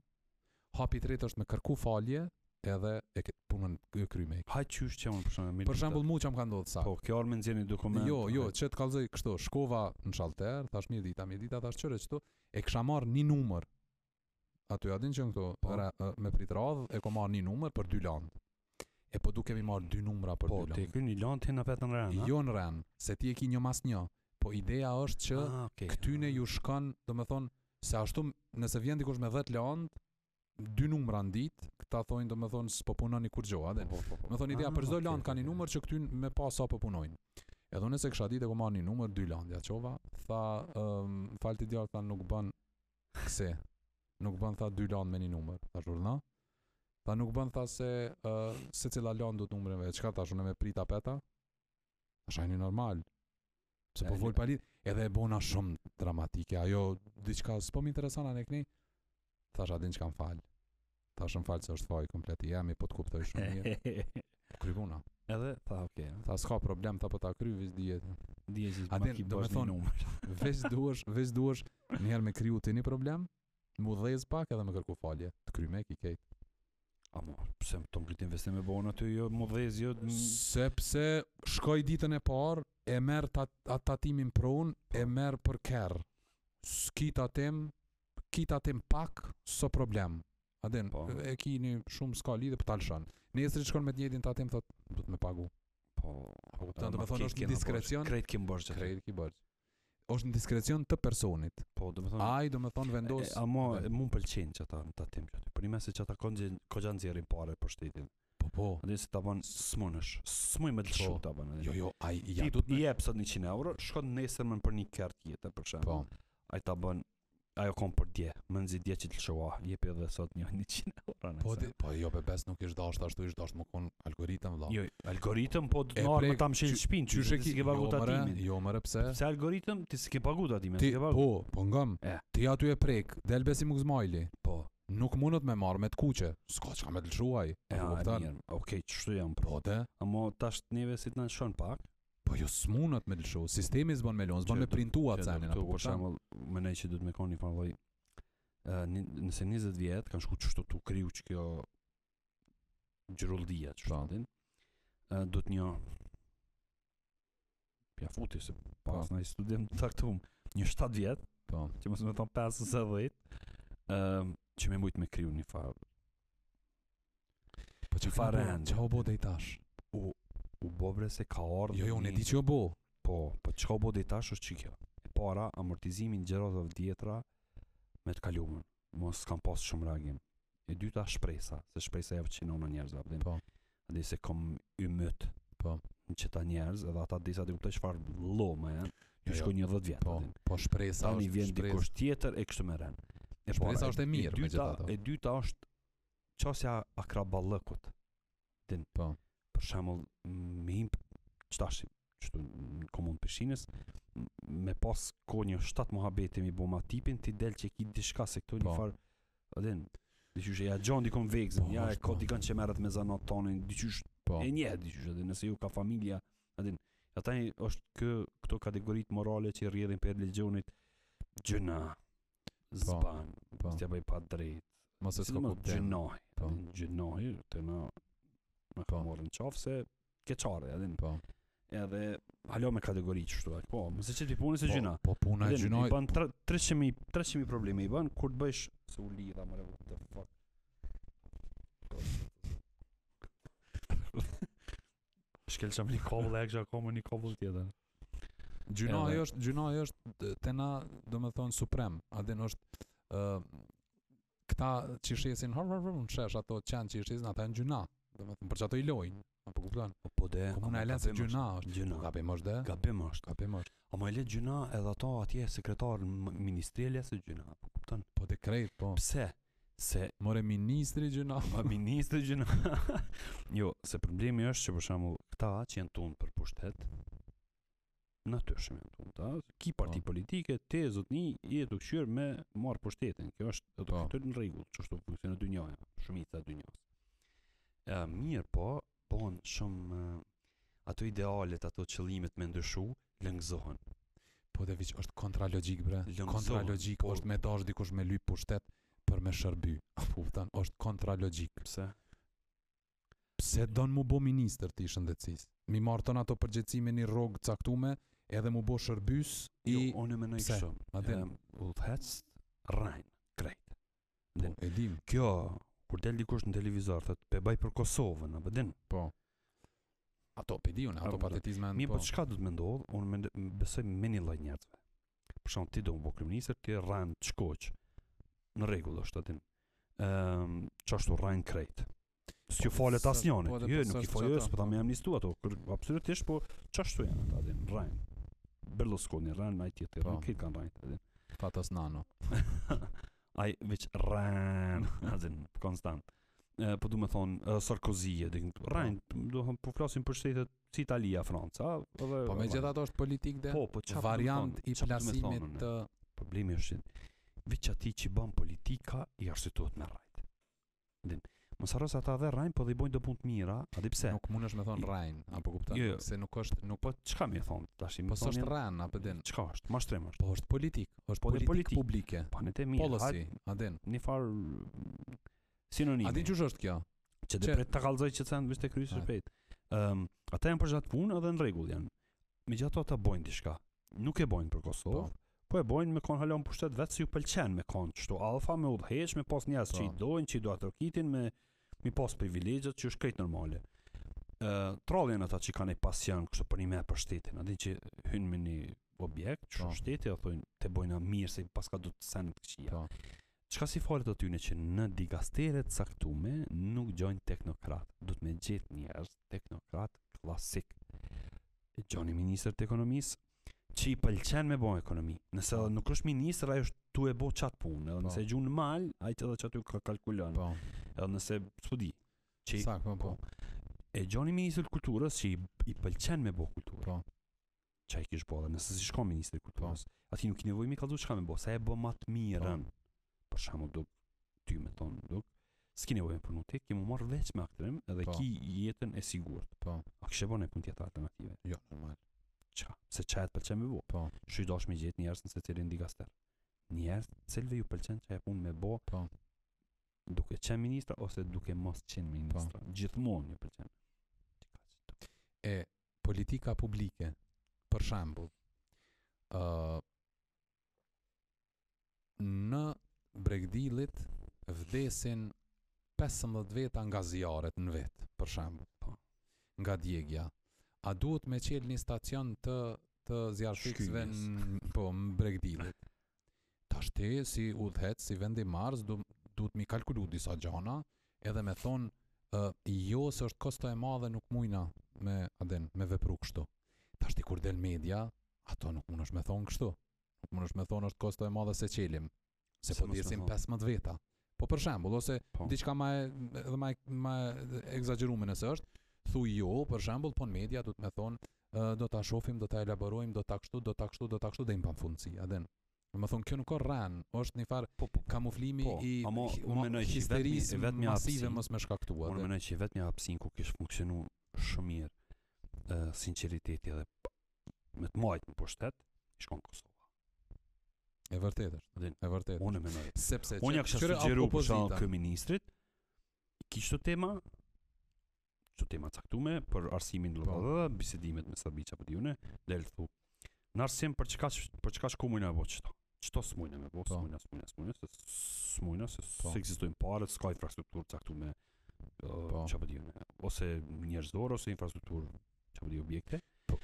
Speaker 2: hapi tretë është me kërku falje, edhe e këtë punën e kryme.
Speaker 1: Ha qysh që unë për shembull.
Speaker 2: Për shembull, mu që më ka ndodhë sa.
Speaker 1: po, kjo armë nxjerrni dokument.
Speaker 2: Jo, jo,
Speaker 1: e,
Speaker 2: që të kallzoj kështu, shkova në shalter, thash mirë dita, mirë dita, thash çore çto, e kisha marr një numër. Aty a din që në këto
Speaker 1: Po.
Speaker 2: ra- ë, me prit radh e kam marr një numër për dy landë. E po du kemi marr dy numra për
Speaker 1: Po,
Speaker 2: dy
Speaker 1: ti ky një lan ti na vetën rën.
Speaker 2: landë. Jo në rren, se ti e ki një mas një, po ideja është që
Speaker 1: Ah, okay.
Speaker 2: këtyne ju shkon, do me thonë, se ashtu m- nëse vjen dikush me 10 landë, dy numra në ditë, ta thonë domethënë s'po punoni kurrgjë, a dhe.
Speaker 1: Po, po, po, po.
Speaker 2: Më thonë ideja
Speaker 1: Ah,
Speaker 2: për çdo
Speaker 1: okay,
Speaker 2: land kanë një
Speaker 1: okay.
Speaker 2: numër që këtyn me pa sa po punojnë. Edhe unë se kisha ditë ku marr një numër dy landja çova, tha, um, falti djalë tha nuk bën kse. Nuk bën tha dy land me një numër. Tha zhurna. Tha nuk bën tha se uh, secila land do të numrin vetë. Çka tash unë me prit apeta? Tash ajni normal. Se po
Speaker 1: Ai-
Speaker 2: vol palit, edhe e bona shumë dramatike. Ajo diçka s'po më intereson anë këni. Thash a din çka më fal. Thash më fal se është faj komplet i jemi, po të kuptoj shumë mirë. Krybuna.
Speaker 1: Edhe tha, okay. a.
Speaker 2: Tha s'ka problem, tha po ta kry veç dihet.
Speaker 1: Dije që
Speaker 2: A
Speaker 1: ma
Speaker 2: din,
Speaker 1: ki
Speaker 2: do
Speaker 1: bësh
Speaker 2: me
Speaker 1: një
Speaker 2: thonë-
Speaker 1: numër.
Speaker 2: Veç duhesh, veç duhesh një herë me kriju ti një problem, mu dhez pak edhe me kërku falje. Të kry me ki kejt.
Speaker 1: Amo, pse më ton këtë investim e bën aty jo më vdhëz jo m-
Speaker 2: Sepse shkoj ditën e parë, e merr tat, atë tatimin pron,
Speaker 1: Po.
Speaker 2: e merr për kerr. Skita tim, kita tim pak, so problem. A din,
Speaker 1: Po.
Speaker 2: e ki një shumë s'ka lidhe për talshan. Nesër shkon me të njëjtin tatim thot, do të më pagu.
Speaker 1: po.
Speaker 2: Po
Speaker 1: ama
Speaker 2: kupton, do të thonë
Speaker 1: krejt
Speaker 2: është
Speaker 1: kena
Speaker 2: një
Speaker 1: bërë,
Speaker 2: diskrecion,
Speaker 1: Krejt kim bërë që
Speaker 2: krejt ki bërë. Është një diskrecion të personit.
Speaker 1: Po, do të thonë.
Speaker 2: Ai do me thonë vendos
Speaker 1: e, Amo,
Speaker 2: e-
Speaker 1: mund pëlqen që ata në tatim që aty. Për një mes se që ata kanë koxhan nxjerrin parë për shtetin.
Speaker 2: Po po
Speaker 1: Dhe se ta bën smunësh. Smuj me të
Speaker 2: Po.
Speaker 1: lëshu ta bën.
Speaker 2: Jo jo ai ja
Speaker 1: Ja,
Speaker 2: do
Speaker 1: i
Speaker 2: të
Speaker 1: jep sot 100 euro, shkon nesër më për një kart tjetër për shemb.
Speaker 2: Po
Speaker 1: Ai ta bën ajo kon për dje, më nxi dje që të lëshova, jep edhe sot një 100 euro.
Speaker 2: Po
Speaker 1: nesër.
Speaker 2: ti po jo bebes nuk ish dash ashtu ish dash më kon algoritëm vëlla.
Speaker 1: Jo, algoritm po do të
Speaker 2: E
Speaker 1: marr më
Speaker 2: prek,
Speaker 1: ta mshël
Speaker 2: qy-
Speaker 1: shtëpinë,
Speaker 2: Qysh e
Speaker 1: ti
Speaker 2: ki
Speaker 1: s'ke pagu
Speaker 2: jo, mëre,
Speaker 1: tatimin.
Speaker 2: Jo mëre pse?
Speaker 1: Se algoritm ti s'ke pagu tatimin,
Speaker 2: Ti
Speaker 1: s'ke pagu.
Speaker 2: po po ngam.
Speaker 1: E.
Speaker 2: Ti aty e prek, del besi muk zmajli.
Speaker 1: Po.
Speaker 2: Nuk mundet me marr me të kuqe. S'ka çka me të lshuaj.
Speaker 1: E,
Speaker 2: Po
Speaker 1: a,
Speaker 2: kupton?
Speaker 1: mirë. Okej, çështu jam pro.
Speaker 2: Po te.
Speaker 1: Amo tash neve si të na shon pak.
Speaker 2: Po jo s'mundet me të lshu. Sistemi s'bën me lon, s'bën
Speaker 1: Që
Speaker 2: me
Speaker 1: do- Që
Speaker 2: printua
Speaker 1: do
Speaker 2: cenin
Speaker 1: këtu,
Speaker 2: apo
Speaker 1: për shembull, mendoj që duhet me koni një farë lloj ë, ni- nëse 20 vjet kanë shku çështu tu kriu që kjo gjyrullia që
Speaker 2: Po.
Speaker 1: shtatin. Ë duhet një ja futi se pas në studim të taktum një 7 vjet
Speaker 2: Po.
Speaker 1: që mos më thon 5 ose 10 ëm që më mujt me kriju një farë
Speaker 2: Po çka
Speaker 1: Fare
Speaker 2: fare.
Speaker 1: ende.
Speaker 2: Çka u bë deri tash?
Speaker 1: u bobre se ka ardhur
Speaker 2: Jo jo unë e
Speaker 1: një-
Speaker 2: di ç'u bë.
Speaker 1: po po çka u bë deri tash është që kjo e para amortizimin gjërave vjetra me të kaluarën mos kam pas shumë reagim e dyta shpresa se shpresa jep qinon në njerëz apo
Speaker 2: Po.
Speaker 1: dhe se kom ymyt
Speaker 2: Po.
Speaker 1: në qëta njerëz edhe ata disa të kuptoj çfarë lloma janë
Speaker 2: Jo,
Speaker 1: ju
Speaker 2: jo.
Speaker 1: shkon një 10 vjet
Speaker 2: Po,
Speaker 1: a din.
Speaker 2: po shpresa
Speaker 1: tani vjen
Speaker 2: është shpresë.
Speaker 1: dikush tjetër e kështu me rën e
Speaker 2: Shpresa
Speaker 1: para,
Speaker 2: është e mirë,
Speaker 1: dyta-
Speaker 2: megjithatë.
Speaker 1: e dyta është çësja akraballëkut
Speaker 2: Po.
Speaker 1: për shembull m- me imp çtash çtu në komun Pishinës m- me pas ko një 7 muhabete mi boma tipin ti del që ki diçka se këtu një
Speaker 2: Po.
Speaker 1: far adin diçysh ja gjon dikon vegzën
Speaker 2: Po,
Speaker 1: ja e
Speaker 2: është,
Speaker 1: ka
Speaker 2: po.
Speaker 1: dikon që merret me zanat tonin diçysh
Speaker 2: Po.
Speaker 1: e një diçysh edhe nëse ju ka familja adin ja tani është kë këto kategoritë morale që rrjedhin për religionit gjëna zban
Speaker 2: Po.
Speaker 1: s'tia bëj pa drejt
Speaker 2: Mos e
Speaker 1: si do
Speaker 2: s'ka
Speaker 1: më
Speaker 2: kuptim.
Speaker 1: gjënoj
Speaker 2: Po.
Speaker 1: gjënoj të na më ka
Speaker 2: Po.
Speaker 1: morën qafë se keqare adin
Speaker 2: Po.
Speaker 1: edhe halo me kategori qështu e po, mëse që ti punë se gjyna
Speaker 2: Po, po puna e
Speaker 1: Edhe
Speaker 2: gjinoj.
Speaker 1: i ban 300.000 300.000 probleme i ban kur të bëjsh se u lidha më what the fuck shkelësham një kabull e kësha komë një kabull tjetër
Speaker 2: Gjinoj
Speaker 1: Edhe-
Speaker 2: është, gjinoj është d- te na, domethënë suprem. A din është ë këta që shesin har har har unë shesh ato qenë që i shesin ata janë gjyna. Domethënë për çato i lojnë. Apo kupton?
Speaker 1: po de
Speaker 2: Komuna e lanë se gjyna është.
Speaker 1: gjyna.
Speaker 2: Po gabim është dhe?
Speaker 1: gabim është
Speaker 2: Gabim është.
Speaker 1: ama e le gjyna edhe ato atje sekretar ministrelja se gjyna po kupton
Speaker 2: Po dekret, po.
Speaker 1: pse se
Speaker 2: More ministri gjyna.
Speaker 1: Pa ministrë gjëna. jo, se problemi është që për shembull këta që janë tunë për pushtet, natyrshëm janë tunë ta. Ki parti
Speaker 2: Po.
Speaker 1: politike, te zotni je të këshyrë me marr pushtetin. Kjo është do
Speaker 2: Po.
Speaker 1: të thotë në rregull, çështë funksionon dynjaja, shumica e dynjas. Ë mirë po, bon shumë e, ato idealet, ato qëllimet me ndryshu lëngëzohen.
Speaker 2: Po dhe viç është kontra logjik bre.
Speaker 1: Lëngëzohen,
Speaker 2: Kontra logjik
Speaker 1: po.
Speaker 2: është me dash dikush me lyp pushtet për me shërby. Po kupton? Është kontra logjik.
Speaker 1: Pse?
Speaker 2: pse don mu bo ministër ti i shëndetësisë? Mi marr ton ato përgjegjësime në rrogë caktume, edhe mu bo shërbys i
Speaker 1: jo, unë e menoj
Speaker 2: pse?
Speaker 1: kështu.
Speaker 2: atë
Speaker 1: Ëm, Udhëhec rrein, krejt.
Speaker 2: po, e dim.
Speaker 1: kjo kur del dikush në televizor thotë pe baj për Kosovën apo din
Speaker 2: Po. Ato pe diun,
Speaker 1: A, po,
Speaker 2: ato patetizma
Speaker 1: mi
Speaker 2: po.
Speaker 1: po çka do të më ndodh unë mend- m- besoj me një lloj njerëzve për shembull ti do të bëj kryeminist ti rran çkoç në rregull është atin um, çashtu rrin krejt. S'ju
Speaker 2: Po,
Speaker 1: falet
Speaker 2: sa-
Speaker 1: asnjëri.
Speaker 2: po, edhe
Speaker 1: Jo,
Speaker 2: po,
Speaker 1: nuk i
Speaker 2: s'është
Speaker 1: falë,
Speaker 2: çata,
Speaker 1: s'po ta
Speaker 2: po.
Speaker 1: më amnistu ato. kër- Absolutisht, po çashtu janë ata din rrin. Berlusconi rrin, ai tjetër
Speaker 2: Po.
Speaker 1: rrin, këtë kanë rrin. atin.
Speaker 2: Fatas nano.
Speaker 1: Po, Ai veç rrin, azin konstant. E, po du me thonë, e, Sarkozy, e din, rrin, do thonë, po flasim për shtetet si Italia, Franca, edhe...
Speaker 2: Po megjithatë është politik dhe
Speaker 1: po, po çfarë do me
Speaker 2: variant
Speaker 1: thonë,
Speaker 2: i
Speaker 1: çfarë do me thonë,
Speaker 2: plasimit
Speaker 1: ne?
Speaker 2: të
Speaker 1: Problemi është që veç ati që bën politika i arsitohet me rajt. Din. Mos harro se ata dhe rajnë, po dhe i bojnë do punë të mira, a di pse?
Speaker 2: nuk mundesh me thon
Speaker 1: I-
Speaker 2: Rajn, apo kupton?
Speaker 1: Jo, jo.
Speaker 2: Se nuk është nuk
Speaker 1: Po çka më e thon tash i
Speaker 2: po
Speaker 1: më
Speaker 2: s'është
Speaker 1: thonë.
Speaker 2: Rajn, apo din.
Speaker 1: Çka është? Mashtrim është.
Speaker 2: Po është politik, është
Speaker 1: Po, dhe
Speaker 2: politik,
Speaker 1: politik.
Speaker 2: publike.
Speaker 1: Po ne të mirë.
Speaker 2: Policy, a din.
Speaker 1: Një farë mm, sinonimi.
Speaker 2: A din çush është kjo?
Speaker 1: që
Speaker 2: që-
Speaker 1: dhe pret ta kallzoj që të thënë vështë e kryesë
Speaker 2: Ah.
Speaker 1: shpejt. Ëm, ata janë për gjatë punë edhe në rregull janë. Megjithatë ata bojnë diçka. Nuk e bojnë për Kosovë, po
Speaker 2: Po.
Speaker 1: e bojnë me kon halon pushtet vetë si ju pëlqen me kon kështu alfa me udhëheq me pas njerëz që i
Speaker 2: Po.
Speaker 1: dojnë, që i do atrokitin me mi pas privilegjet që është krejt normale. Ë trollin ata që kanë e pasion kështu për një me për shtetin, atë që hyn me një objekt, kështu
Speaker 2: Po.
Speaker 1: shteti, a thonë te bojna mirë se paska do të sen të këqija.
Speaker 2: Po.
Speaker 1: Çka si falet aty në që në digastere të caktume nuk gjojnë teknokrat. Do të më gjetë njerëz teknokrat klasik. E gjoni ministër të ekonomisë që i pëlqen me bën ekonomi. Nëse
Speaker 2: Po.
Speaker 1: nuk është ministër, ai është tu e bë çat punë, edhe
Speaker 2: Po.
Speaker 1: nëse e gjun në mal, ai që edhe çatu ka kalkulon.
Speaker 2: Po.
Speaker 1: Edhe nëse studi. Që i-
Speaker 2: Sakt, po, po.
Speaker 1: e gjoni ministër të kulturës që i, i pëlqen me bë kulturë.
Speaker 2: Po.
Speaker 1: Çai kish bë, nëse si shkon ministri i kulturës, aty nuk i nevojë me kallzu çka me bë, sa e bë më të mirën.
Speaker 2: Po.
Speaker 1: Për shembull, do ty me ton, do s'ki nevojë me punu ti, ke më marr veç me aktrim edhe
Speaker 2: Po.
Speaker 1: ki jetën e sigurt.
Speaker 2: Po.
Speaker 1: A kishe bën e punë tjetër alternative?
Speaker 2: Jo, normal.
Speaker 1: Çka? Se çaj të pëlqen me bë.
Speaker 2: Po.
Speaker 1: Shu i dash me gjetë njerëz në secilin dikaster. Njerëz cilve ju pëlqen çaj punë me bë.
Speaker 2: Po.
Speaker 1: Duke qenë ministra ose duke mos qenë ministra.
Speaker 2: Po.
Speaker 1: Gjithmonë ju pëlqen.
Speaker 2: e politika publike, për shembull, ë në Bregdillit vdesin 15 veta nga zjarret në vet, për shembull,
Speaker 1: Po.
Speaker 2: nga djegja. A duhet me qelë një stacion të të zjarrfikësve
Speaker 1: Shkynjes.
Speaker 2: në po në Bregdillit? Tash te si udhëhet, si vendimarrës du, duhet mi kalkulu disa gjana, edhe me thonë uh, jo se është kosto e madhe nuk mujna me aden me vepru kështu. Tash ti kur del media, ato nuk mundesh me thon kështu. Nuk mundesh me thon është kosto e madhe se çelim. Se
Speaker 1: Se
Speaker 2: po
Speaker 1: mos me
Speaker 2: djesim
Speaker 1: thonë.
Speaker 2: 15 veta. Po për shembull ose
Speaker 1: Po.
Speaker 2: diçka më e- edhe më e- më e egzageruar nëse është, thuj jo, për shembull, po në media do të më thon uh, do ta shohim, do ta elaborojmë, do ta kështu, do ta kështu, do ta kështu dhe im pan fundsi, aden. Më thonë, kjo nuk ka rran, është një farë
Speaker 1: Po, po, po.
Speaker 2: kamuflimi
Speaker 1: Po,
Speaker 2: i
Speaker 1: ama
Speaker 2: hi-
Speaker 1: unë
Speaker 2: ma-
Speaker 1: menoj që i
Speaker 2: histerisë
Speaker 1: vetmi- vetmi
Speaker 2: masive
Speaker 1: hapsi-
Speaker 2: mos me shkaktua.
Speaker 1: Unë
Speaker 2: dhe-
Speaker 1: mendoj që vetëm ja hapsin ku kish funksionu shumë mirë ë sinqeriteti edhe p- me të majt në pushtet, i shkon Kosova.
Speaker 2: E vërtet është.
Speaker 1: Din.
Speaker 2: E vërtet.
Speaker 1: Unë e mendoj.
Speaker 2: Sepse
Speaker 1: Unë ja kisha sugjeru për shkak kë
Speaker 2: këmi.
Speaker 1: ministrit, i kishte tema çu tema caktume për arsimin
Speaker 2: Po.
Speaker 1: lëvë, bisedimet me Serbiç apo diune, del thu. Në arsim për çka për çka shkumujnë apo çto. Çto smujnë me po,
Speaker 2: Po.
Speaker 1: smujnë, smujnë, smujnë, se smujnë, se
Speaker 2: Po.
Speaker 1: s'ekzistojnë parë, s'ka infrastrukturë caktume
Speaker 2: Po.
Speaker 1: çapo diune, ose njerëzdor ose infrastrukturë çapo di objekte.
Speaker 2: Po.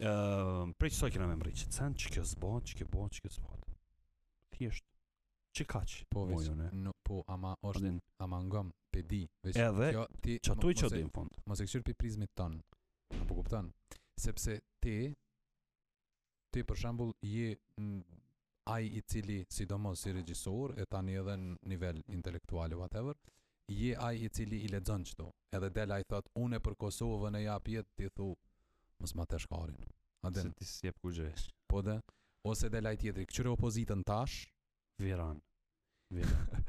Speaker 1: Ëm, prej çfarë kena me mbrëqë, sen që kjo zbon, që kjo bën, që kjo zbon. Thjesht që kaq.
Speaker 2: Po veç,
Speaker 1: mojone.
Speaker 2: nuk po ama është
Speaker 1: Ordin,
Speaker 2: ama ngëm pe di, veç.
Speaker 1: Edhe,
Speaker 2: kjo ti
Speaker 1: çatu i
Speaker 2: mos e-
Speaker 1: çodi në fund.
Speaker 2: Mos e kthyer pe prizmit ton. Apo kupton? Sepse ti ti për shembull je mm, ai i cili sidomos si regjisor e tani edhe në nivel intelektual e whatever je ai i cili i lexon çto edhe del ai thot unë për Kosovën e jap jetë ti thu mos ma të shkarin a
Speaker 1: Se
Speaker 2: den
Speaker 1: ti sjep ku gjesh.
Speaker 2: Po dhe, ose dhe laj tjetri, këqyre opozitën tash,
Speaker 1: Viran. Viran.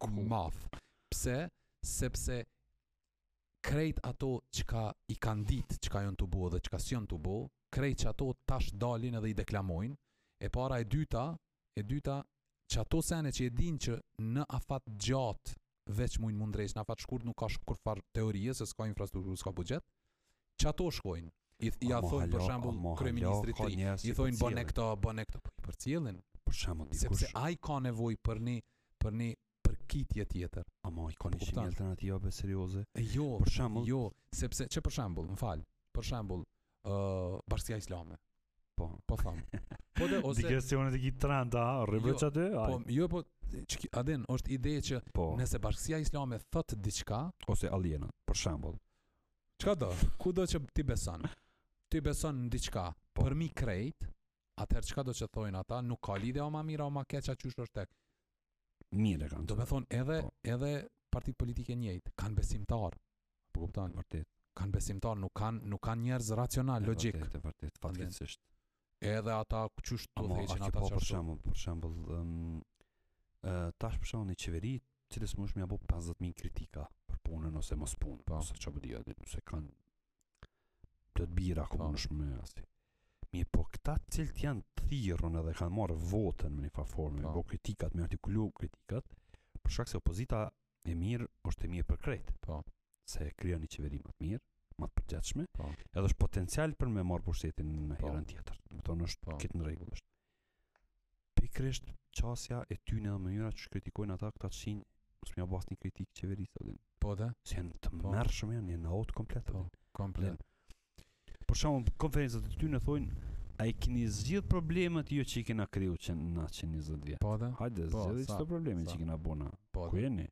Speaker 1: Ku-
Speaker 2: maf. Pse? Sepse krejt ato qka i kanë ditë qka jënë të bo dhe qka s'jënë të bo, krejt që ato tash dalin edhe i deklamojnë, e para e dyta, e dyta që ato sene që e din që në afat gjatë veç mund mundresh, në afat shkurt nuk ka shkur farë teorie, se s'ka infrastrukturë, s'ka bugjet, që ato shkojnë. I, th- i a
Speaker 1: Ama
Speaker 2: thonë për
Speaker 1: hala,
Speaker 2: shembull
Speaker 1: ama hala,
Speaker 2: kryeministrit
Speaker 1: ka
Speaker 2: tri,
Speaker 1: njerëz
Speaker 2: i
Speaker 1: që
Speaker 2: thonë
Speaker 1: përcjellin.
Speaker 2: bën e këto, bën e këto, po i përcjellin.
Speaker 1: Për shembull, dikush,
Speaker 2: sepse ai ka nevojë për një për një përkitje tjetër.
Speaker 1: ama i ka një
Speaker 2: kupton.
Speaker 1: shimë alternativa be serioze.
Speaker 2: E jo,
Speaker 1: Për shembull,
Speaker 2: jo, sepse që për shembull, më fal, për shembull, ë Bashkia Islame,
Speaker 1: po.
Speaker 2: po them. Po dhe ose
Speaker 1: Digresionet e ki tranda, rrëbëç
Speaker 2: Jo,
Speaker 1: aty,
Speaker 2: po
Speaker 1: ai.
Speaker 2: jo po çki- a din, është ide që
Speaker 1: Po,
Speaker 2: nëse bashkësia islame thot diçka,
Speaker 1: ose alienat, për shembull.
Speaker 2: çka do? Kudo që ti beson. Ti beson në diçka
Speaker 1: Po.
Speaker 2: për mi krejt, atëherë çka do që thojnë ata, nuk ka lidhje o ma mira o ma keq a qysh është tek.
Speaker 1: Mirë e kanë.
Speaker 2: Do me thonë edhe
Speaker 1: Po.
Speaker 2: edhe partitë politike njëjtë kanë besimtar. Po kupton?
Speaker 1: thonë vërtet.
Speaker 2: Kanë besimtar, nuk kanë nuk kanë njerëz racional, logjik.
Speaker 1: Vërtet, vërtet, fatkeqësisht.
Speaker 2: Edhe ata qysh tu
Speaker 1: Ama a
Speaker 2: theqin
Speaker 1: ke
Speaker 2: Po, ata
Speaker 1: pa për
Speaker 2: çfarë.
Speaker 1: shembull, për shembull, ëm, ë, tash për shembull një qeveri cilës më është mja bo 50.000 kritika për punën ose mos punë,
Speaker 2: Po.
Speaker 1: ose që bëdia, se kanë të të bira ku
Speaker 2: Po.
Speaker 1: më me asti. Mi po këta cilët janë thirrën edhe kanë marrë votën me një farë formë,
Speaker 2: Po.
Speaker 1: po kritikat, me artikulu kritikat, për shkak se opozita e mirë është e mirë për krejt.
Speaker 2: Po.
Speaker 1: Se krijon një qeveri më të mirë, më të përgjithshme,
Speaker 2: Po.
Speaker 1: edhe është potencial për me marrë pushtetin në
Speaker 2: Po.
Speaker 1: herën tjetër. Do të thonë është
Speaker 2: Po.
Speaker 1: këtë në rregull është. Pikrisht qasja e tyne dhe mënyra që kritikojnë ata këta të shinë, mos më bas një kritikë qeverisë atë.
Speaker 2: Po dhe?
Speaker 1: Se janë të
Speaker 2: Po.
Speaker 1: mërshëm janë, janë aut komplet.
Speaker 2: Po,
Speaker 1: Po.
Speaker 2: komplet.
Speaker 1: Për shembull, konferencat e tyne thonë, a i keni zgjidh problemet jo që i kena kriju që në 120 vjet.
Speaker 2: Po dhe?
Speaker 1: Hajde,
Speaker 2: Po,
Speaker 1: zgjidhni
Speaker 2: sa,
Speaker 1: çdo problemi
Speaker 2: sa.
Speaker 1: që i kena bona.
Speaker 2: Po.
Speaker 1: Ku jeni?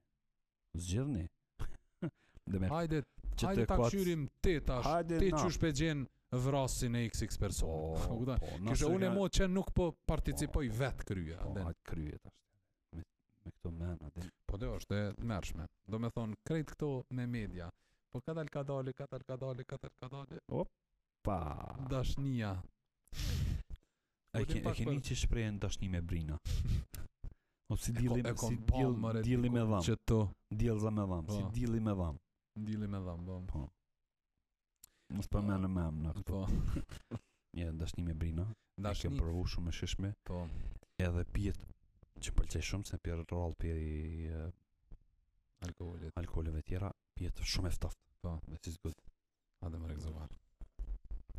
Speaker 1: Zgjidhni. Dhe me
Speaker 2: Hajde,
Speaker 1: që
Speaker 2: hajde
Speaker 1: të
Speaker 2: ta
Speaker 1: kuac-
Speaker 2: kshyrim ti tash.
Speaker 1: Hajde,
Speaker 2: Ti
Speaker 1: na.
Speaker 2: qysh pe gjen vrasin e XX
Speaker 1: Po,
Speaker 2: personë. Po, kupton?
Speaker 1: po,
Speaker 2: Kështë
Speaker 1: nëse
Speaker 2: unë e
Speaker 1: ka-
Speaker 2: mo që nuk po participoj
Speaker 1: Po,
Speaker 2: vetë kryja.
Speaker 1: Po,
Speaker 2: Po,
Speaker 1: hajde kryet tash. Me, me këto mena, dhe
Speaker 2: po dhe është e të mërshme. Do me thonë, krejt këto me media. Po ka dal ka dali, ka dal ka dali, ka dal ka dali.
Speaker 1: pa.
Speaker 2: Dashnia.
Speaker 1: E
Speaker 2: Folim
Speaker 1: ke, e
Speaker 2: pak
Speaker 1: keni që shprehen dashni me Brina. O Po si dilli
Speaker 2: e kom
Speaker 1: si
Speaker 2: pa
Speaker 1: dill
Speaker 2: mëre
Speaker 1: dilli me
Speaker 2: dikur
Speaker 1: dham,
Speaker 2: Që të
Speaker 1: diellza me dham, si
Speaker 2: Po.
Speaker 1: dilli me dham.
Speaker 2: ndili me dham, dham.
Speaker 1: Mos po më në mem në këto.
Speaker 2: Po,
Speaker 1: Ja, dashni me Brina. e Kem
Speaker 2: dashni.
Speaker 1: provu shumë e shishme,
Speaker 2: Po,
Speaker 1: edhe pijet që më pëlqej shumë se për rall për
Speaker 2: alkoholit.
Speaker 1: alkooleve tjera, pijet shumë e ftoftë.
Speaker 2: Po.
Speaker 1: Dhe si zgjod.
Speaker 2: A dhe më regzuar.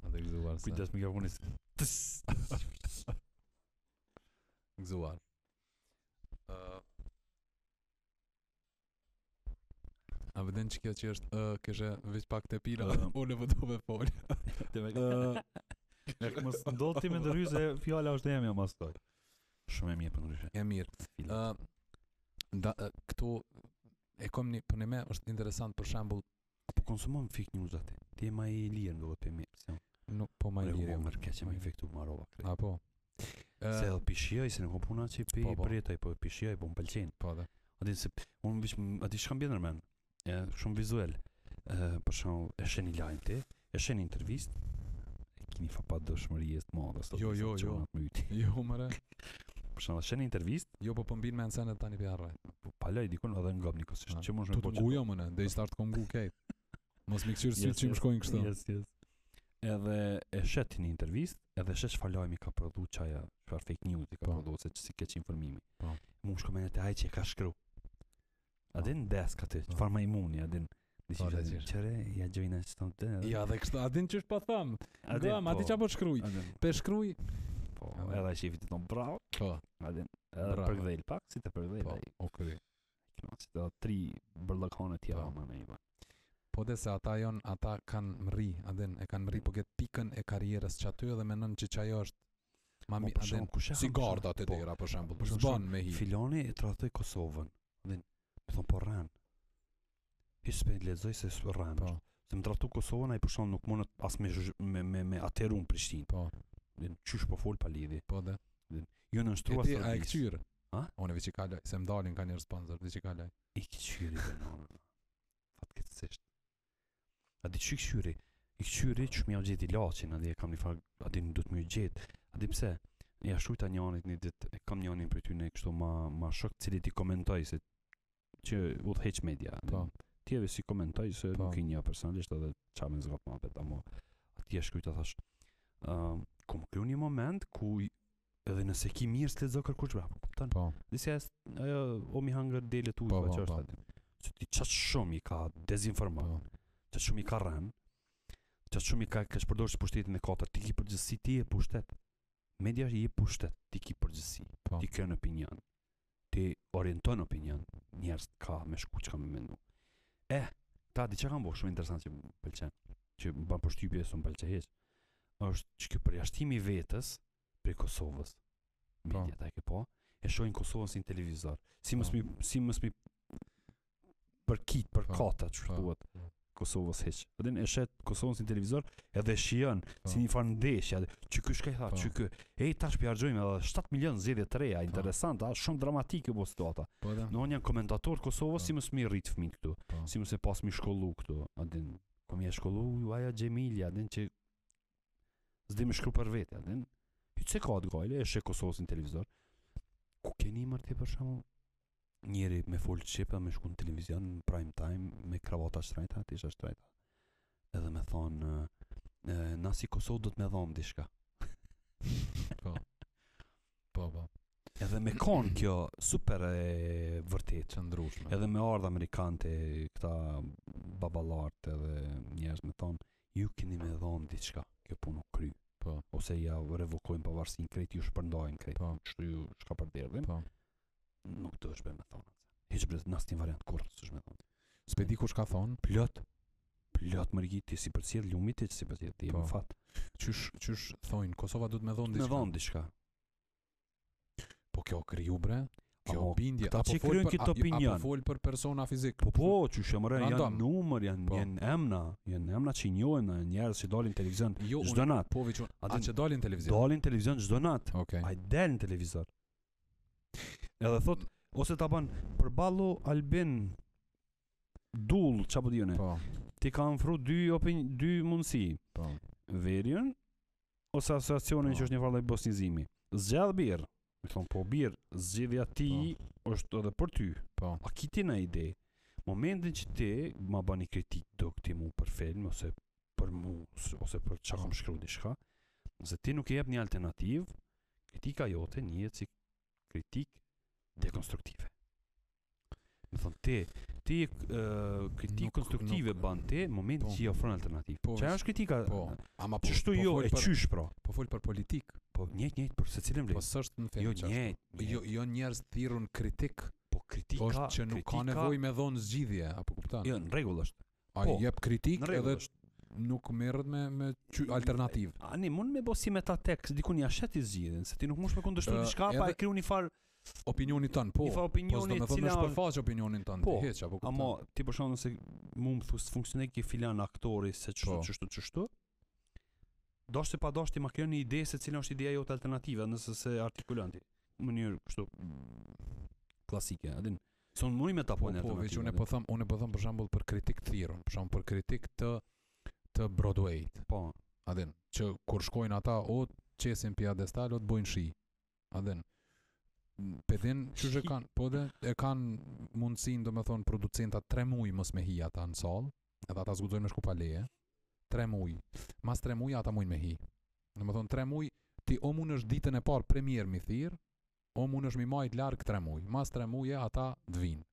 Speaker 2: A dhe regzuar se.
Speaker 1: Kujdes mikrofonin. se-
Speaker 2: Gzuar. Uh, a vëden që kjo që është uh, kështë veç pak të pila
Speaker 1: Ë.
Speaker 2: unë e vëdove folë
Speaker 1: Ë, Mos do ti më ndrysh se fjala është e jemi mas toj. Shumë e mirë për ndryshe.
Speaker 2: E mirë
Speaker 1: Filma.
Speaker 2: uh, da, uh, Këtu e kom një për një me është interesant për shembull
Speaker 1: Po konsumon fake news atë. Ti je më i lirë duhet për mirë. se unë.
Speaker 2: nuk po ma
Speaker 1: Ma
Speaker 2: i lirë
Speaker 1: lirë
Speaker 2: jam.
Speaker 1: më keq që më infektu më rova.
Speaker 2: A po
Speaker 1: Se
Speaker 2: uh,
Speaker 1: edhe pishjoj, se nuk më puna që i pi
Speaker 2: Po, po.
Speaker 1: përjetoj, po pishjoj, po më pëlqen.
Speaker 2: Po dhe
Speaker 1: A di se unë vish, a di shkam bjetër men, e, shumë vizuel. E, për shumë, e shen i lajmë ti, e shen intervist, e kini fa pa dëshmëri e të madhe. sot,
Speaker 2: Jo,
Speaker 1: se
Speaker 2: jo,
Speaker 1: që
Speaker 2: jo.
Speaker 1: unë atë më yti.
Speaker 2: Jo mëre
Speaker 1: Për shumë, shen intervist,
Speaker 2: Jo po pëmbin me nësenet tani për arre
Speaker 1: po palaj dikun edhe në gabë
Speaker 2: A,
Speaker 1: nikosisht, që mund
Speaker 2: Tu
Speaker 1: shme
Speaker 2: të
Speaker 1: po
Speaker 2: ngu jo mëne Dhe i start kom ngu kejt Mos mi këqyrë sy që më shkojnë kështu
Speaker 1: Yes, yes. Edhe e shet një intervist, edhe shet çfarë lajmi ka prodhu çaja, çfarë fake news i ka
Speaker 2: Po.
Speaker 1: prodhu se që si keq informimi.
Speaker 2: Po.
Speaker 1: Mu më shkomen te ai që e ka shkru. A din desk aty,
Speaker 2: Po.
Speaker 1: çfarë më imuni, a din. Dishi
Speaker 2: Po, Jo,
Speaker 1: që
Speaker 2: regjisht.
Speaker 1: çere ja gjojna çton te.
Speaker 2: Ja dhe kështu Adin që është po thamë
Speaker 1: a din.
Speaker 2: Gëm, ati që po shkruj
Speaker 1: A din.
Speaker 2: Pe shkruj
Speaker 1: Po,
Speaker 2: A din.
Speaker 1: edhe ai shefi të thon bravo.
Speaker 2: Po
Speaker 1: A din. Edhe
Speaker 2: Bravo.
Speaker 1: për gdhel pak, si të për gdhel.
Speaker 2: Po, o kry.
Speaker 1: Si të tri bërllëkone tjera
Speaker 2: Po.
Speaker 1: më ne. iva.
Speaker 2: Po dhe se ata janë, ata kanë mri, adin, e kanë mri, po këtë pikën e karierës që aty edhe menon që që ajo është ma
Speaker 1: Mo,
Speaker 2: mi,
Speaker 1: Po, për
Speaker 2: adin,
Speaker 1: shembull, kush e
Speaker 2: si
Speaker 1: hap, kush e-
Speaker 2: garda të
Speaker 1: po,
Speaker 2: tjera, për shembull,
Speaker 1: për shembull,
Speaker 2: zban me hi.
Speaker 1: Filoni e trahtoi Kosovën. Dhe më thon po rran. Hispën lezoj se s'u rran.
Speaker 2: Po,
Speaker 1: është. Se më trahtu Kosovën ai për shkak nuk mund as me zhë- me me, me atërum Prishtinë.
Speaker 2: po,
Speaker 1: Dhe çysh po fol pa lidhje.
Speaker 2: po dhe.
Speaker 1: Jo në
Speaker 2: E
Speaker 1: shtrua
Speaker 2: ti, a e këqyrë?
Speaker 1: A?
Speaker 2: Unë veç i kalaj, se më dalin ka një sponsor, veç i kalaj.
Speaker 1: I këqyri banon. Fatkeqësisht. A di çy këqyri? I këqyri që më gjeti laçin, a di e kam një farë, a di nuk do të më gjet. A di pse? Ja shujta njanit një ditë, e kam njanin për ty ne kështu ma ma shok cili ti komentoj se që udhëheq media. a di.
Speaker 2: Po.
Speaker 1: tjeve si komentoj se
Speaker 2: Po.
Speaker 1: nuk i një personalisht edhe qa me zgat ma pet, amo atje shkujta thash um, ku më kryu një moment ku i- edhe nëse ki mirë s'le zë kërkush bra, po kupton?
Speaker 2: Po,
Speaker 1: Disi as ajo o mi hangër dele tu,
Speaker 2: Po,
Speaker 1: po,
Speaker 2: po,
Speaker 1: që është
Speaker 2: po.
Speaker 1: aty. Që ti qatë shumë i ka
Speaker 2: po,
Speaker 1: dezinformar, qatë shumë i ka rënë, qatë shumë i ka kesh përdorë që pushtetin e katër, ti ki përgjësi, ti je pushtet. Media je pushtet, ti ki përgjësi,
Speaker 2: po,
Speaker 1: ti kërën opinion, ti orienton opinion, njerës ka me shku që ka me mendu. E, ta di që kam bo, shumë interesant që më pëlqen, që më ban përshtypje së më pëlqen heq, është që kjo përjashtimi i vetës për Kosovës,
Speaker 2: Po.
Speaker 1: media ta e ke po, e shohin Kosovën si në televizor. Si mos
Speaker 2: Po.
Speaker 1: mi si mos mi përkit për
Speaker 2: Po,
Speaker 1: kata çu
Speaker 2: po.
Speaker 1: thuat. Kosovës hiç. Vetëm e shet Kosovën si në televizor edhe e shijon
Speaker 2: Po.
Speaker 1: si një farë ndeshje. atë, Që ky shkaj tha,
Speaker 2: Po.
Speaker 1: që ky. Ej tash pi harxojmë edhe 7 milion zgjedhje të reja,
Speaker 2: Po.
Speaker 1: interesante, a, shumë dramatike po situata.
Speaker 2: Po da.
Speaker 1: Do janë komentator Kosovës
Speaker 2: Po.
Speaker 1: si mos mi rrit fëmin këtu,
Speaker 2: Po.
Speaker 1: si mos e pas mi shkollu këtu. A din, kom je shkollu ju aja Xhemilia, a din që s'di më shkru për vete, a din. Hy çe ka atë gajle, e sheh Kosovës në televizor. Ku keni mërë ti për shembull njëri me fol çip me shku në televizion në prime time me kravata shtrajta, tisha shtrajta. Edhe me thon e, na si Kosovë do të më dhom diçka.
Speaker 2: Po. Po, po.
Speaker 1: Edhe me kon kjo super e vërtet.
Speaker 2: Që ndrushme.
Speaker 1: Edhe me ardhë Amerikante, këta babalart edhe njerëz me thonë, ju keni me dhonë diçka, kjo punë u kry.
Speaker 2: Po.
Speaker 1: Ose ja revokojnë pavarësinë krejt, ju shpërndajnë krejt.
Speaker 2: Po.
Speaker 1: Kështu ju shka për derdhin.
Speaker 2: Po.
Speaker 1: Nuk të është be me thonë. Hiç brez nas tin variant kurrë, s'është me thonë.
Speaker 2: S'pe di kush ka thon,
Speaker 1: Plot. Plot mërgi ti si përcjell lumit, ti si përcjell ti
Speaker 2: Po.
Speaker 1: më fat.
Speaker 2: qysh qysh thoin Kosova duhet me dhon
Speaker 1: Me
Speaker 2: diçka.
Speaker 1: dhonë diçka.
Speaker 2: Po kjo kriju bre. Kjo
Speaker 1: Amo,
Speaker 2: bindje
Speaker 1: këta
Speaker 2: apo
Speaker 1: që
Speaker 2: fol
Speaker 1: kryjnë
Speaker 2: për
Speaker 1: këtë
Speaker 2: a- i-
Speaker 1: opinion.
Speaker 2: apo fol për persona fizik.
Speaker 1: Po po, që shëmërën janë
Speaker 2: Random.
Speaker 1: numër, janë,
Speaker 2: Po.
Speaker 1: janë emna, janë emna që i njohen, janë njerëz që dalin televizion
Speaker 2: Jo,
Speaker 1: çdo
Speaker 2: unë-
Speaker 1: natë.
Speaker 2: po veç unë-
Speaker 1: A
Speaker 2: a
Speaker 1: din-
Speaker 2: që dalin televizion.
Speaker 1: Dalin televizion çdo natë.
Speaker 2: Okej.
Speaker 1: A i del në televizor. Edhe thot, ose ta ban përballu Albin Dull, qa po dhjone,
Speaker 2: Po,
Speaker 1: ti ka nëfru dy, opin, dy mundësi,
Speaker 2: po.
Speaker 1: verjen, ose asociacionin
Speaker 2: Po.
Speaker 1: që është një farlaj bosnizimi. Zgjedh birë, me thonë, po birë, zgjedhja ti është edhe për ty.
Speaker 2: Po.
Speaker 1: A ki ti në ide? Momentin që ti ma bani kritik do këti mu për film, ose për mu, s- ose për qa kam shkru diçka, nëse ti nuk e jep një alternativ, kritika jote njëhet si kritik dekonstruktive. Më thonë, ti, ti uh, kritik
Speaker 2: Nuk-
Speaker 1: konstruktive
Speaker 2: nuk-
Speaker 1: ban ti, moment
Speaker 2: po.
Speaker 1: që i ofron alternativë.
Speaker 2: Po,
Speaker 1: Çfarë është kritika?
Speaker 2: Po. Ama po.
Speaker 1: Çështu
Speaker 2: po
Speaker 1: jo
Speaker 2: fol
Speaker 1: e
Speaker 2: për-
Speaker 1: qysh pra.
Speaker 2: Po fol për politik.
Speaker 1: Po njëjtë njëjtë për secilin
Speaker 2: Po
Speaker 1: vlerë.
Speaker 2: s'është në film.
Speaker 1: Jo
Speaker 2: qashtu.
Speaker 1: njëjtë.
Speaker 2: Jo, jo njerëz thirrun kritik,
Speaker 1: po kritika,
Speaker 2: është që nuk ka
Speaker 1: kritika-
Speaker 2: nevojë me dhon zgjidhje, apo kupton?
Speaker 1: Jo, në rregull është.
Speaker 2: Ai
Speaker 1: po,
Speaker 2: jep kritik
Speaker 1: Në
Speaker 2: edhe
Speaker 1: rregull është.
Speaker 2: nuk merret me me qy- alternativë.
Speaker 1: Ani mund me bosi me ta tek, dikun ja shet i zgjidhjen, se ti nuk mund të kundërshtu
Speaker 2: Ë,
Speaker 1: diçka pa
Speaker 2: edhe-
Speaker 1: e kriju një far,
Speaker 2: Opinionin tën, po.
Speaker 1: një far
Speaker 2: Po s'do
Speaker 1: opinioni
Speaker 2: me
Speaker 1: i
Speaker 2: thonë me
Speaker 1: cila
Speaker 2: shpërfaq opinionin tënd,
Speaker 1: Po,
Speaker 2: ti heq apo kupton.
Speaker 1: Ama ti për shkakun se mu më thu funksionon ke filan aktori se çështu
Speaker 2: Po.
Speaker 1: çështu çështu. Doshtë e pa doshtë i ma krijon një ide se cila është ideja jote alternative, nëse se artikulon ti. Në mënyrë kështu klasike, a din. Son mundi me ta
Speaker 2: po,
Speaker 1: punë
Speaker 2: po, veç unë
Speaker 1: alternative.
Speaker 2: po them, unë po them për shembull për kritik thirrën, për shembull për kritik të të Broadway-t.
Speaker 1: po,
Speaker 2: A din, që kur shkojnë ata o qesin piadestal o të bojnë shi. A din. m, Pedin, që që
Speaker 1: Shi.
Speaker 2: kanë, po dhe e kanë mundësin, do me thonë, producentat tre muj mos me hi ata në salë, edhe ata zgudzojnë me shku pa leje, tre muj, mas tre muj ata mujnë me hi. Do me thonë, tre muj, ti o mund është ditën e parë premier mi thirë, o mund është mi majt larkë tre muj, mas tre muje ata dvinë.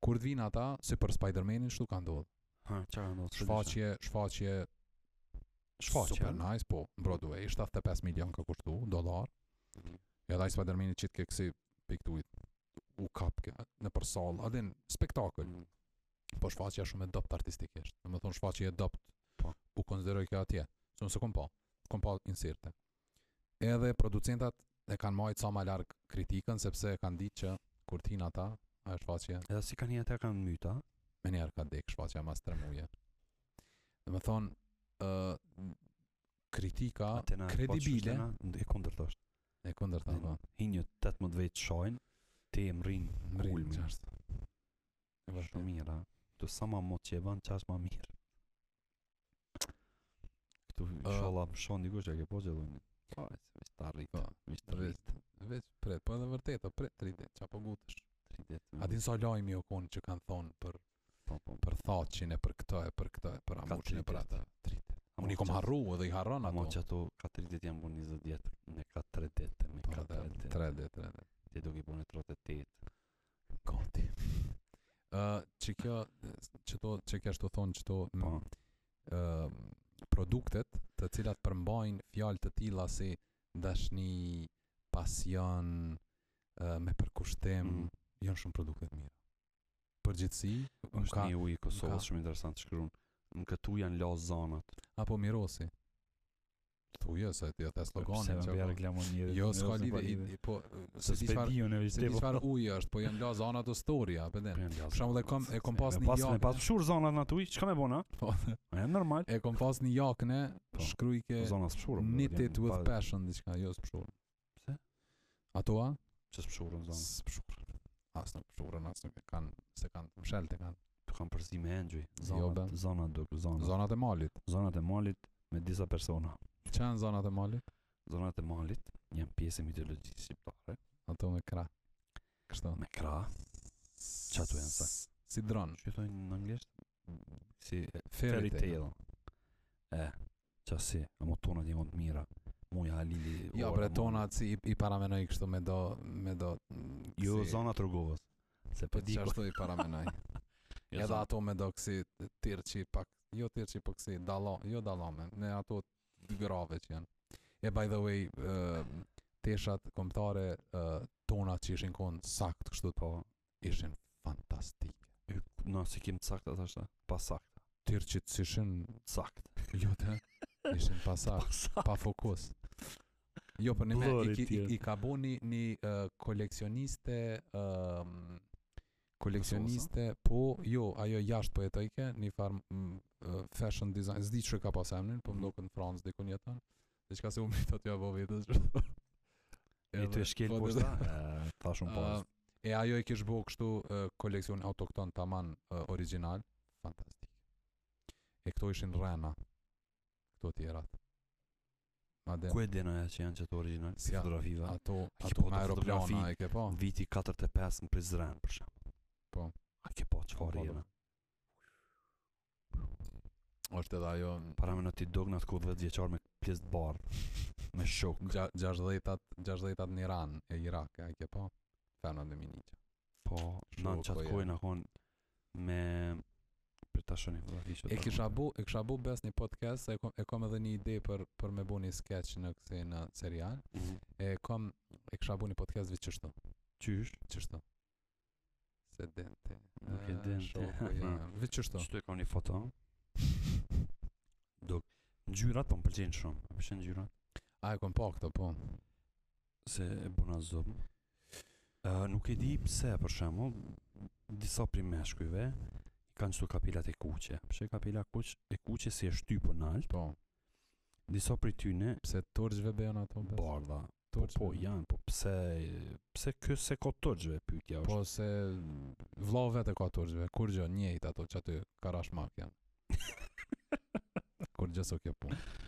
Speaker 2: Kur dvinë ata, si për Spider-Manin, shtu ka ndodhë.
Speaker 1: ha, çfarë do të
Speaker 2: Shfaqje, shfaqje
Speaker 1: shfaqje.
Speaker 2: Super
Speaker 1: a?
Speaker 2: nice, po, në Broadway, 75 milion ka kushtu, dollar. Ja daj Spider-Man i qitë ke kësi piktuit u kap ke, në për sallë, adin, spektakl,
Speaker 1: Mm.
Speaker 2: po shfaqja shumë e dopt artistikisht, në më thonë shfaqja e dopt,
Speaker 1: Po.
Speaker 2: u konsideroj ka atje, së nëse kom pa, kom pa inserte. Edhe producentat e kanë majtë sa ma larg kritikën, sepse e kanë ditë që kur t'hin ata, ajo shfaqje
Speaker 1: Edhe si kanë një ata kanë myta,
Speaker 2: me njerë ka dek shfaqja mas tre muje. Dhe me thonë, ë, kritika
Speaker 1: atë na
Speaker 2: kredibile,
Speaker 1: e kundërtosht.
Speaker 2: E kundër ta, po.
Speaker 1: Hinjë 18 vjetë shajnë, te e mrin
Speaker 2: Mrin,
Speaker 1: kulmin.
Speaker 2: qashtë. E
Speaker 1: Shumë
Speaker 2: vërtet.
Speaker 1: mirë, a? Këtu sa ma mot që e ban, qash ma mirë. Këtu, inshallah, uh, shonë dikush që e ke po gjellojnë. Po, e se vishë të
Speaker 2: Po,
Speaker 1: arritë, vishë të
Speaker 2: veç-
Speaker 1: arritë,
Speaker 2: Veç pret, po edhe vërtet, o pret 3 ditë, çapo gutesh.
Speaker 1: Mhm. arritë.
Speaker 2: A din po sa lajmi o konë që kanë thonë për
Speaker 1: Po, po,
Speaker 2: për thaqin e për këtë e për këtë e për amuçin e për atë. Unë i kom harru edhe i harron
Speaker 1: Amo
Speaker 2: ato.
Speaker 1: që ato ka 30 janë bu 20 djetë, ne ka 3 djetë, me
Speaker 2: Po,
Speaker 1: ka 3
Speaker 2: edhe
Speaker 1: djetë,
Speaker 2: 3 ditë, 3 ditë.
Speaker 1: ti duke bu në 38.
Speaker 2: Gati. Ë, që kjo që to që kjo ashtu thonë që to m,
Speaker 1: Po,
Speaker 2: ë produktet të cilat përmbajnë fjalë të tilla si dashni, pasion, ë, me përkushtim,
Speaker 1: Mhm.
Speaker 2: janë shumë produkte të mira. Përgjithsi,
Speaker 1: është
Speaker 2: ka-
Speaker 1: një ujë i Kosovës
Speaker 2: ka-
Speaker 1: shumë interesant të shkruan. Në këtu janë la zanat.
Speaker 2: apo mirosi. Thuja se ti ata
Speaker 3: Se
Speaker 2: sloganin
Speaker 3: më bëja
Speaker 2: që
Speaker 3: reklamonire.
Speaker 2: Jo, s'ka lidhje, i- i- po
Speaker 3: Se
Speaker 2: se di çfarë
Speaker 3: s'pedi unë
Speaker 2: se di
Speaker 3: vetë.
Speaker 2: çfarë uji është, po janë la zona të storia, apo den. Për shembull e kam e kam pas një
Speaker 3: pas me
Speaker 2: jakë.
Speaker 3: pas shur zonat në tuj, çka më bën, a?
Speaker 2: Po.
Speaker 3: Është normal.
Speaker 2: E kam pas një jakën e
Speaker 1: Po.
Speaker 2: shkrujke
Speaker 1: Zona s'pshurëm.
Speaker 2: knitted with passion diçka, jo s'pshur.
Speaker 1: Pse?
Speaker 2: Ato a?
Speaker 1: Që s'pshurëm zonë.
Speaker 2: S'pshur. As në pshurën, as nuk e kanë, se kanë mshelë të kanë.
Speaker 1: Të kam përzi me engjoj.
Speaker 2: ben.
Speaker 1: Zonat, zonat duk, zonat.
Speaker 2: Zonat e malit.
Speaker 1: Zonat e malit me disa persona.
Speaker 2: Që janë zonat e malit?
Speaker 1: Zonat e malit janë pjesë e mitologjisë shqiptare.
Speaker 2: Ato me kra. Kështu.
Speaker 1: Me krah, Që ato janë sa?
Speaker 2: Si dronë.
Speaker 1: që thonë në anglisht? Si
Speaker 2: Fairy tale.
Speaker 1: E, që si, a më tonat janë të mira. Muja Halili.
Speaker 2: Jo,
Speaker 1: ora,
Speaker 2: bre
Speaker 1: mo-
Speaker 2: tona si i, i paramenoj kështu me do me do mm,
Speaker 1: Jo,
Speaker 2: kësi-
Speaker 1: zona Trogovës. Se
Speaker 2: Po
Speaker 1: po di
Speaker 2: që
Speaker 1: kur.
Speaker 2: ashtu i paramenoj.
Speaker 1: Jo,
Speaker 2: Edhe
Speaker 1: zona-
Speaker 2: ato me do kësi tirqi pak, jo tirqi, po kësi dalla, jo dallame, ne ato dy grave që janë. E by the way, uh, teshat kombëtare uh, tona që ishin konë sakt kështu
Speaker 1: Po,
Speaker 2: ishin fantastike.
Speaker 1: e, na si kim të sakta thashta, pa sakta,
Speaker 2: Tirqit që ishin,
Speaker 1: të saktë.
Speaker 2: jo të, ishin pasar,
Speaker 1: saktë.
Speaker 2: pa fokus. Jo, për një me, i,
Speaker 3: Blurrit
Speaker 2: ki- i,
Speaker 3: janë.
Speaker 2: i ka bo një, një uh, koleksioniste, um, koleksioniste, po, jo, ajo jashtë po jetoj ke, një farë mm, uh, fashion design, zdi që ka pas emnin,
Speaker 1: Mm.
Speaker 2: po më do në Francë dhe kënë jetën, dhe që ka se u mritë aty abo vetës.
Speaker 1: E të e shkel
Speaker 2: po,
Speaker 1: poshta, e, thash unë pas.
Speaker 2: Uh, e ajo e kish bo kështu uh, koleksion autokton taman uh, original, fantastik. E këto ishin rena, këto tjerat. Madem,
Speaker 1: Ku e dena e që janë që të original, si
Speaker 2: Ja,
Speaker 1: fotografiva?
Speaker 2: ato,
Speaker 1: ki
Speaker 2: ato
Speaker 1: po
Speaker 2: me
Speaker 1: të fotografi,
Speaker 2: aeroplana, e ke po? pa?
Speaker 1: Viti 45 në Prizren, për shemb.
Speaker 2: Po.
Speaker 1: A ke po
Speaker 2: Po,
Speaker 1: çfarë
Speaker 2: po,
Speaker 1: jena?
Speaker 2: është edhe ajo,
Speaker 1: Para me në ti dognat ku 10 vjeqar me pjesë të barë, me shok.
Speaker 2: Gja- 60-at 60-at në Iran e Irak, a i ke po? pa? Femna Dominiqe.
Speaker 1: Po, në në
Speaker 2: Shok, po,
Speaker 1: qatë
Speaker 2: ja.
Speaker 1: kojnë akon me... Për të shëni fotografi që
Speaker 2: E
Speaker 1: ta-
Speaker 2: kisha bu, e kisha bu bes një podcast, se e kom, e kom edhe një ide për për me bu një sketch në kësi në serial.
Speaker 1: Mhm.
Speaker 2: E kom e kisha bu një podcast vetë çështu,
Speaker 1: Qysh?
Speaker 2: çështu. Se dente.
Speaker 1: Nuk e
Speaker 2: Ah,
Speaker 1: dente.
Speaker 2: shoku jam. Vetë çështu.
Speaker 1: Qëtu e ka një foto? Do, ngjyrat po më pëlqejnë shumë. A pëlqen ngjyrat?
Speaker 2: A e kom pa këto po.
Speaker 1: se e bona zëm. Uh, nuk e di pse për shembull disa prej meshkujve i kanë çtu kapilat e kuqe. Pse kapila kuq e kuqe si e shtypur në alp,
Speaker 2: Po.
Speaker 1: disa prej tyne
Speaker 2: Pse turqve bëjnë ato bes?
Speaker 1: bardha. Po, po janë, po pse pse ky se ka turxhve pyetja është.
Speaker 2: Po se vllau vetë ka turqve, kur gjë njëjtë ato që aty karashmak janë. Kur gjë s'o kjo punë.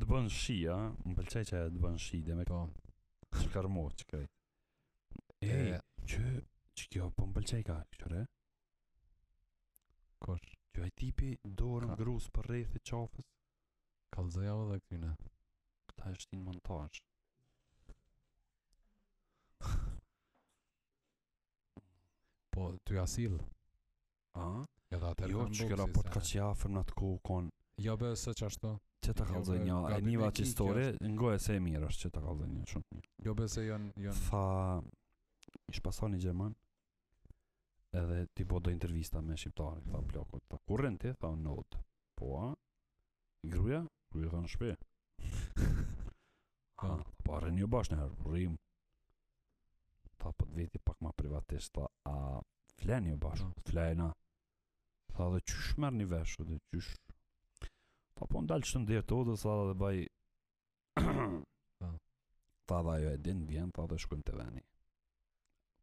Speaker 1: Të bën shi, a? Më pëlqej që të bën shi dhe me
Speaker 2: Po.
Speaker 1: çkarmo çkaj. E,
Speaker 2: E,
Speaker 1: që që kjo po më pëlqej ka këtyre.
Speaker 2: kush?
Speaker 1: Që ai tipi dorën
Speaker 2: Ka-
Speaker 1: grus për rreth e qafës,
Speaker 2: Kallëzoja edhe këtyne.
Speaker 1: ta është në montazh.
Speaker 2: Po, ty asil.
Speaker 1: A?
Speaker 2: Edhe atë
Speaker 1: Jo, që kjo raport ka që jafër në atë kohë konë
Speaker 2: Jo, be, se që ashtu.
Speaker 1: Që ta
Speaker 2: Jo,
Speaker 1: kalzoj
Speaker 2: be,
Speaker 1: një, e
Speaker 2: gabim
Speaker 1: një
Speaker 2: e
Speaker 1: vaqë
Speaker 2: ki,
Speaker 1: histori,
Speaker 2: kjo
Speaker 1: ngoje se e mirë është që ta kalzoj një shumë mirë.
Speaker 2: Jo, be, se janë... janë
Speaker 1: Tha, ish pasar një Gjerman, edhe ti po do intervista me shqiptare, tha plakot, tha, ku rrën ti? Tha, në odë. Po, a? Gruja? Gruja tha në shpe. ha,
Speaker 2: Po.
Speaker 1: po rrën një bashkë në herë, rrim. Tha, po të veti pak ma privatisht, tha, a, flen një bashkë, flena. Tha, dhe qysh merë një veshë, dhe qysh... Tha, po ndalë që të ndjerë të odës, tha, dhe baj... Tha dhe ajo e din, vjen, tha dhe shkojmë të veni.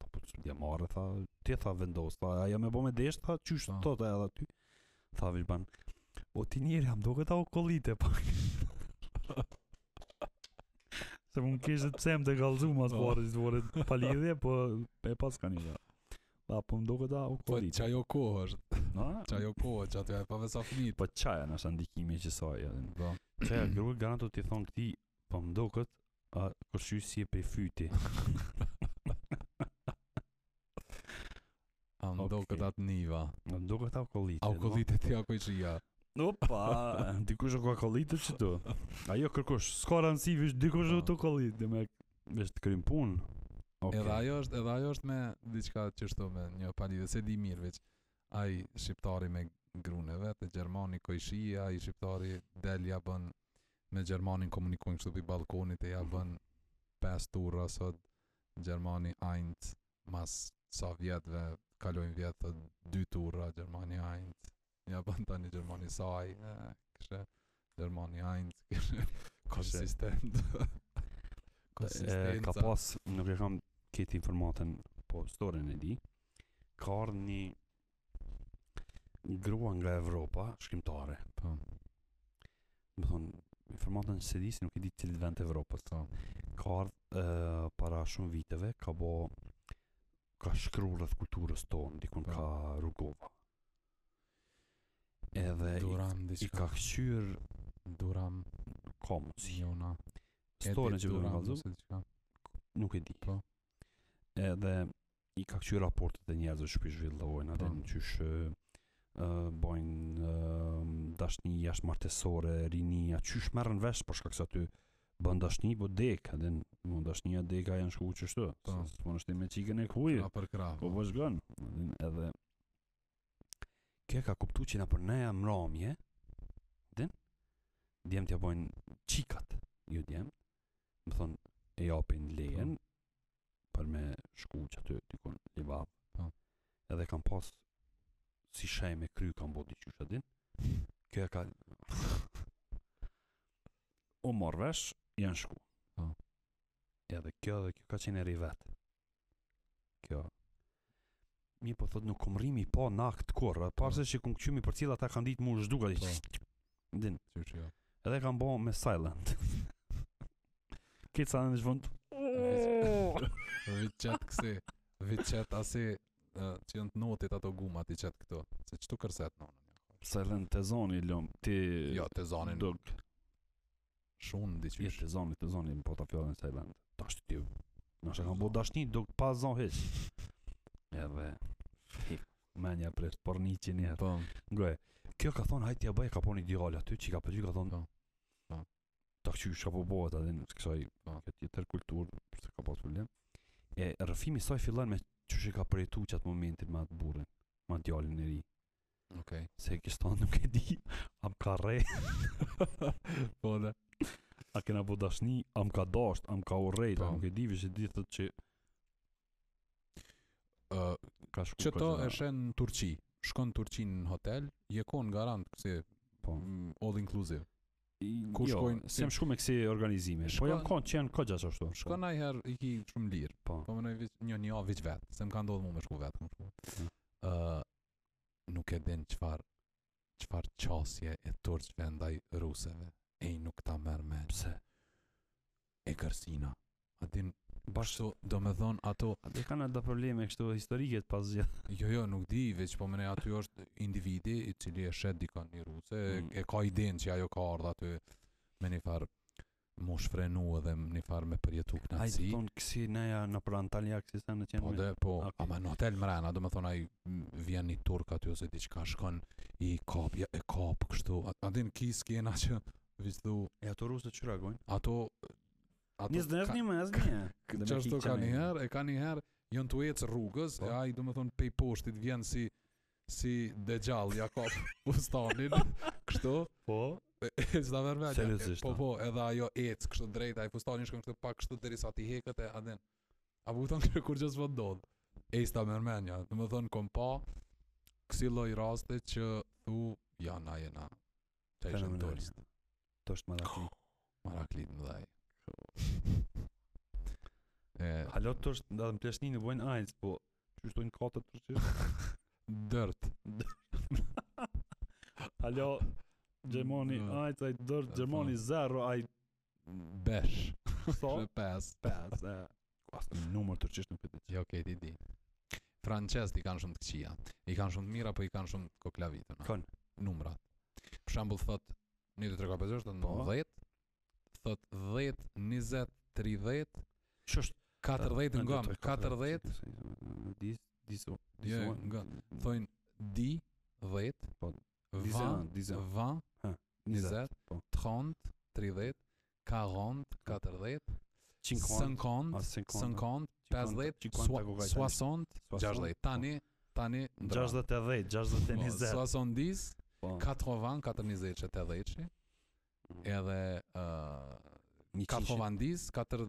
Speaker 1: Tha po të dje marrë, tha, ti tha vendos, tha ajo me bo me desh, tha qysh
Speaker 2: Po.
Speaker 1: të të edhe ty. Tha Vilban, o Po, ti njeri, jam do këta o kolite pak.
Speaker 3: Se mund kishte pse më të kallëzuam atë
Speaker 2: Po.
Speaker 3: varë, të vore pa lidhje, po e pas kanë ja. Da, po më duket da u
Speaker 2: Po,
Speaker 3: kolit.
Speaker 2: që ajo kohë është.
Speaker 1: Na,
Speaker 2: Që ajo kohë, që aty e pa vesa fëmijët.
Speaker 1: po qaja në është ndikimi që saj. edhe.
Speaker 2: Po,
Speaker 1: Qaja grur garanto ti thonë këti, po më do këtë, a kërshyu si e pe fyti.
Speaker 2: a më do
Speaker 1: Okej.
Speaker 2: këtë atë niva.
Speaker 1: Më do këta o kolite.
Speaker 2: A u
Speaker 1: no?
Speaker 2: kollit e ti ako i qia.
Speaker 3: Opa,
Speaker 1: Dikush o ka kolite që tu. Ajo kërkush,
Speaker 3: s'ka rëndësi veç dikush do
Speaker 2: Po.
Speaker 3: të kolit, dhe me
Speaker 1: është krim punë. Okay.
Speaker 2: Edhe ajo është, edhe ajo është me diçka që shto me një palidhe, se di mirë veç. Ai shqiptari me grune vetë, Gjermani ko i shia, ai shqiptari delja bën me Gjermanin komunikojnë kështu për balkonit
Speaker 1: Mhm.
Speaker 2: e ja bën 5 turra sot Gjermani ajnt mas sa vjetëve kalojnë vjetë thot 2 turra Gjermani ajnt ja bën tani Gjermani saj e, kështë Gjermani ajnt kështë konsistent
Speaker 1: E, ka
Speaker 2: konsistenca
Speaker 1: pas, nuk e kam këtë informatën, po storyn e di. Ka ardhë një grua nga Evropa, shkrimtare.
Speaker 2: po
Speaker 1: Më thonë, informatën se di, se nuk e di cilët vend të Evropës.
Speaker 2: po
Speaker 1: Ka ardhë e, para shumë viteve, ka bo ka shkru rrëth kulturës tonë, dikun
Speaker 2: Po.
Speaker 1: ka rrugova. Edhe i,
Speaker 2: Duram
Speaker 1: i ka
Speaker 2: diçka
Speaker 1: këshyr
Speaker 2: Duram
Speaker 1: komës.
Speaker 2: Jona
Speaker 1: Storën që përdo në kalzu,
Speaker 2: ose diçka.
Speaker 1: nuk e di.
Speaker 2: Po.
Speaker 1: Edhe i ka kthyer raportet e njerëzve që po i zhvillojnë atë
Speaker 2: Po.
Speaker 1: në qysh ë bojnë ë, dashni jashtë martesore, rinia, qysh merren vesh për shkak se aty bën dashni po dek, edhe n- mo dashnia deka janë shku çështë.
Speaker 2: Po.
Speaker 1: Po është me çikën e kujë.
Speaker 2: Kra për kra.
Speaker 1: Po vazhdon. Edhe kjo e ka kuptuar që na për ne jam mramje. Din? Djemt ja bojnë qikat, ju djem. Më thonë, e japin lejen për me shku që aty dikon libat.
Speaker 2: Po.
Speaker 1: Edhe kam pas si shaj me kry kam bodi që shë din. Kjo e ka... u morë vesh, janë shku.
Speaker 2: Po.
Speaker 1: Edhe kjo dhe kjo ka qenë e ri vetë. Kjo Mi po thot nuk kom rrimi pa nakt korë Parë se që kum këqymi për cila ta kam ditë mu zhduka
Speaker 2: Po.
Speaker 1: Din
Speaker 2: Qysh jo.
Speaker 1: Edhe kam bo me silent Këtë sa në zhvënd
Speaker 2: Viçet kësi. Viçet asi ë, që janë të notit ato gumat i qet këto. Se çtu kërset nonën.
Speaker 1: Silent të zoni lëm Ti
Speaker 2: Jo, te zonin
Speaker 1: Dog
Speaker 2: shumë
Speaker 1: Je
Speaker 2: diçysh.
Speaker 1: të zoni të zoni Po ta fjallin silent Ta shtë ti Nëse kam bo dashni Dog pa zon hiq Edhe hi, Menja për të porni që njerë
Speaker 2: Po.
Speaker 1: Ngoje, kjo ka thonë hajtë ja bëj ka po një djalë aty që ka pëlqy ka thonë.
Speaker 2: Po. Po.
Speaker 1: Ta qysh apo bëhet atë në kësaj
Speaker 2: Po.
Speaker 1: kjo tjetër kulturë, se ka pas problem. E rrëfimi i saj fillon me çuçi ka përjetuar që atë momentin me atë burrin, me atë djalin e ri.
Speaker 2: Okej.
Speaker 1: Se kjo ston nuk e di, a më ka rre,
Speaker 2: Po da.
Speaker 1: a kena po dashni, a më ka dasht, a më ka urrejt, a
Speaker 2: Po.
Speaker 1: nuk e di, vishë di thotë që
Speaker 2: Ë,
Speaker 1: ka shku. ka
Speaker 2: çto
Speaker 1: gjëra.
Speaker 2: e shen në Turqi. Shkon në Turqi në hotel, je kon garant kësi
Speaker 1: Po.
Speaker 2: mm, all inclusive.
Speaker 1: I-
Speaker 2: ku
Speaker 1: jo,
Speaker 2: shkojnë-
Speaker 1: Se më shku me kësi organizime. Po
Speaker 2: Shkon-
Speaker 1: jam kanë që janë kogja që ashtu.
Speaker 2: Shkon ajher i ki shumë lirë.
Speaker 1: Po.
Speaker 2: Po më veç një një javë veç vet, se më ka ndodhur mua me shku vet, kam shku. Ë,
Speaker 1: Mm.
Speaker 2: nuk e din çfar çfarë qasje e turqve ndaj ruseve. Ej, nuk ta merr me
Speaker 1: Pse?
Speaker 2: e kërcina. A din
Speaker 1: Bashkë
Speaker 2: bashkë do me thonë ato
Speaker 1: Dhe kanë ata probleme kështu historike të pas gjithë.
Speaker 2: Jo, jo, nuk di, veç po mëne aty është individi i cili e shet dikon një ruse,
Speaker 1: Mm.
Speaker 2: e, e ka idenë që ajo ka ardhë aty me një farë mu shfrenu edhe me një farë me përjetu
Speaker 1: Ai
Speaker 2: knatësi.
Speaker 1: thon kësi neja në për Antalya kësi sa në qenë.
Speaker 2: Po
Speaker 1: me-
Speaker 2: dhe, po,
Speaker 1: Okej.
Speaker 2: ama në hotel mrena, do me thonë ai m, vjen një turk aty ose diçka shkon i kap, ja, e kap kështu. A, a din ki skena që veç thu,
Speaker 1: E ato rusë që reagojnë?
Speaker 2: ato ato
Speaker 1: Njës dërës
Speaker 2: ka-
Speaker 1: një me asë një. Dhe me
Speaker 2: Qashtu
Speaker 1: kikë
Speaker 2: ka
Speaker 1: qene.
Speaker 2: një herë, e ka një herë, jënë të ecë rrugës,
Speaker 1: Po.
Speaker 2: e ai do më thonë pej poshtit vjen si si dëgjall Jakob Bustanin, kështu,
Speaker 1: Po?
Speaker 2: e e s'ta merr vetë.
Speaker 1: Seriozisht,
Speaker 2: Po
Speaker 1: a?
Speaker 2: po, edhe ajo ec kështu drejt, ai Bustani shkon kështu pak kështu derisa ti heket e aden. A buton kërë kur gjës vë ndodh. E s'ta merr menja, do më thonë kom pa kësi lloj raste që thu ja na jena. Çaj shën
Speaker 1: Fenomenal.
Speaker 2: dorës.
Speaker 1: Të është më dhaki.
Speaker 2: Maraklit më dhaj. E
Speaker 1: Halo të është, da dhe më pleshni në bojnë ajës, po që shtojnë katët për që?
Speaker 2: dërt.
Speaker 3: Alo, Gjemoni
Speaker 2: Mm.
Speaker 3: ajt, ajt dërt,
Speaker 2: Po.
Speaker 3: Gjemoni zero, ajt
Speaker 2: Besh.
Speaker 1: Po?
Speaker 3: sa?
Speaker 2: Në pes.
Speaker 3: Pes, e.
Speaker 1: Asë në numër tërqisht nuk pëtë që.
Speaker 2: Jo, okay, ti di. Francezët i kanë shumë të këqija. I kanë shumë të mira, po i kanë shumë të koklavituna.
Speaker 1: Kanë.
Speaker 2: numrat. Për shembull thot 1 2 3 4 5 6 7
Speaker 1: Po.
Speaker 2: 10, thot 10 20 30
Speaker 1: Që është?
Speaker 2: 40
Speaker 1: Në
Speaker 2: ngëm,
Speaker 1: dëtoj,
Speaker 2: 40
Speaker 1: Dis, diso. Diso.
Speaker 2: Jo, nga- thonë di 10
Speaker 1: Po,
Speaker 2: 20
Speaker 1: dizan.
Speaker 2: 20 20
Speaker 1: po.
Speaker 2: 30 30 40 40
Speaker 1: 50.
Speaker 2: 50
Speaker 1: Asë 50.
Speaker 2: 50
Speaker 1: 50,
Speaker 2: 50
Speaker 1: 50,
Speaker 2: 60 60
Speaker 1: po.
Speaker 2: tani tani ndron.
Speaker 1: 60 e 10, 60 e
Speaker 2: Po,
Speaker 1: 20.
Speaker 2: 70
Speaker 1: Po.
Speaker 2: 80 40 80 80
Speaker 1: Mhm.
Speaker 2: edhe uh,
Speaker 1: Një
Speaker 2: ka
Speaker 1: qishin-
Speaker 2: hovandis, 4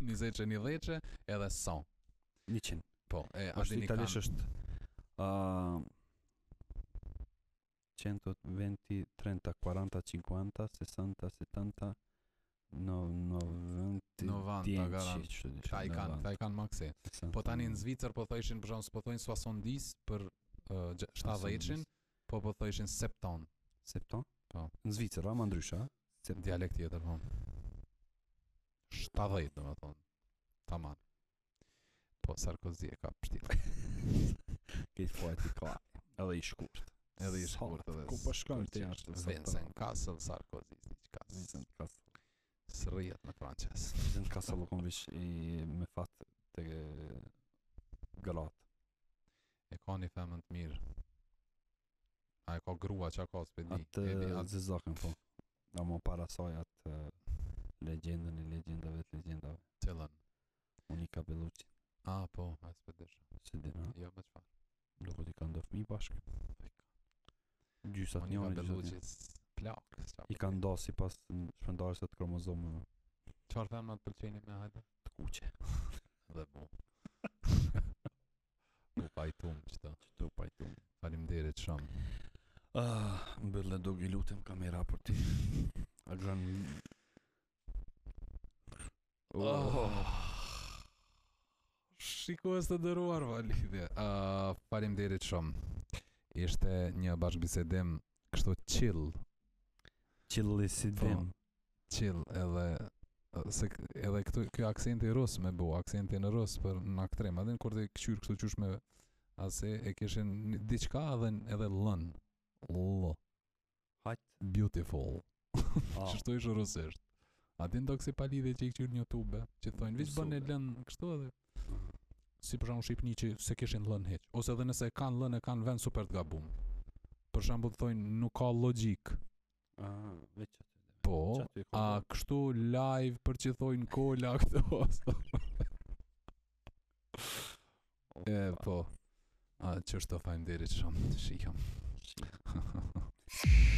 Speaker 2: 20 një dheqe, edhe sa.
Speaker 1: 100.
Speaker 2: Po, e a
Speaker 1: Ashtu
Speaker 2: dini kanë.
Speaker 1: italisht është ë 120, 30, 40, 50, 60, 70, no- 90,
Speaker 2: 90,
Speaker 1: 10,
Speaker 2: garant.
Speaker 1: që që
Speaker 2: Ta i
Speaker 1: dish,
Speaker 2: kanë,
Speaker 1: 90,
Speaker 2: ta i kanë makse.
Speaker 1: 60,
Speaker 2: Po tani në Zvicër po thëshin për shembull, po thoin suasondis për uh, gje- 70-shin, po po thëshin septon,
Speaker 1: Septon?
Speaker 2: Po.
Speaker 1: Në Zvicër, ama ndryshe, a? Septon.
Speaker 2: dialekt tjetër po. 70 domethënë. Tamam. Po Sarkozy e ka pështirë.
Speaker 1: Këtë fajt i ka. Edhe i shkurt.
Speaker 2: Edhe i
Speaker 1: Sa,
Speaker 2: shkurt edhe.
Speaker 1: ku po shkon ti ashtu, po. sa
Speaker 2: Vincent Castle Sarkozy, diçka.
Speaker 1: Vincent Castle.
Speaker 2: Srihet në Francesë.
Speaker 1: Vincent Castle u kon vish i me fat të Galat.
Speaker 2: E ka një femën të mirë. A e ka grua që a ka s'pedi.
Speaker 1: Atë Zezakën po. Ama para saj atë eh, legjendën e legjendave të legjendave.
Speaker 2: Atëllën.
Speaker 1: Monika Bellucci,
Speaker 2: A, po, a s'pedish.
Speaker 1: se dhe na,
Speaker 2: Jo, më çfarë.
Speaker 1: nuk o t'i kanë do fmi bashkë. Gjysat
Speaker 2: Monika
Speaker 1: njëri, gjysat
Speaker 2: Bellucci
Speaker 1: njëri.
Speaker 2: s- plak. s'qa
Speaker 1: I kanë do si pas shpëndarës të kromozomëve
Speaker 2: Çfarë femra të pëlqeni me hajde?
Speaker 1: të kuqe.
Speaker 2: Dhe mu. U pajtum çto.
Speaker 1: Që të pajtu.
Speaker 2: Faleminderit shumë.
Speaker 1: Ah, mbëllë do i lutem kamera për ti. A gënë...
Speaker 2: Oh.
Speaker 1: Oh.
Speaker 2: Shikues të dëruar validhje. Uh, Faleminderit shumë. Ishte një bashkëbisedim kështu chill,
Speaker 1: Qëllë si
Speaker 2: Po.
Speaker 1: dem.
Speaker 2: chill edhe ë, se k- edhe këtu ky aksenti rus me bu, aksenti në rus për në aktrim. Edhe kur të këshyr kështu qysh me ase e kishin një- diçka edhe edhe lën. Lo.
Speaker 1: Hajt.
Speaker 2: Beautiful.
Speaker 1: Ah,
Speaker 2: Qështu ishë rusisht A din do kësi palidhe që i këqyrë një tube Që thojnë, viç bën e
Speaker 1: Mësove.
Speaker 2: lënë kështu edhe Si për shumë Shqipni që se kishin lënë heq Ose edhe nëse e kanë lënë e kanë vend super të gabum Për shumë të thojnë nuk ka logjik
Speaker 1: ah, veç aty.
Speaker 2: Po
Speaker 1: Që aty e ka
Speaker 2: Oh. A
Speaker 1: bërë.
Speaker 2: kështu live për që thojnë kola këto ose- E po A që është të fajmë derit shumë Shikam
Speaker 1: Shit.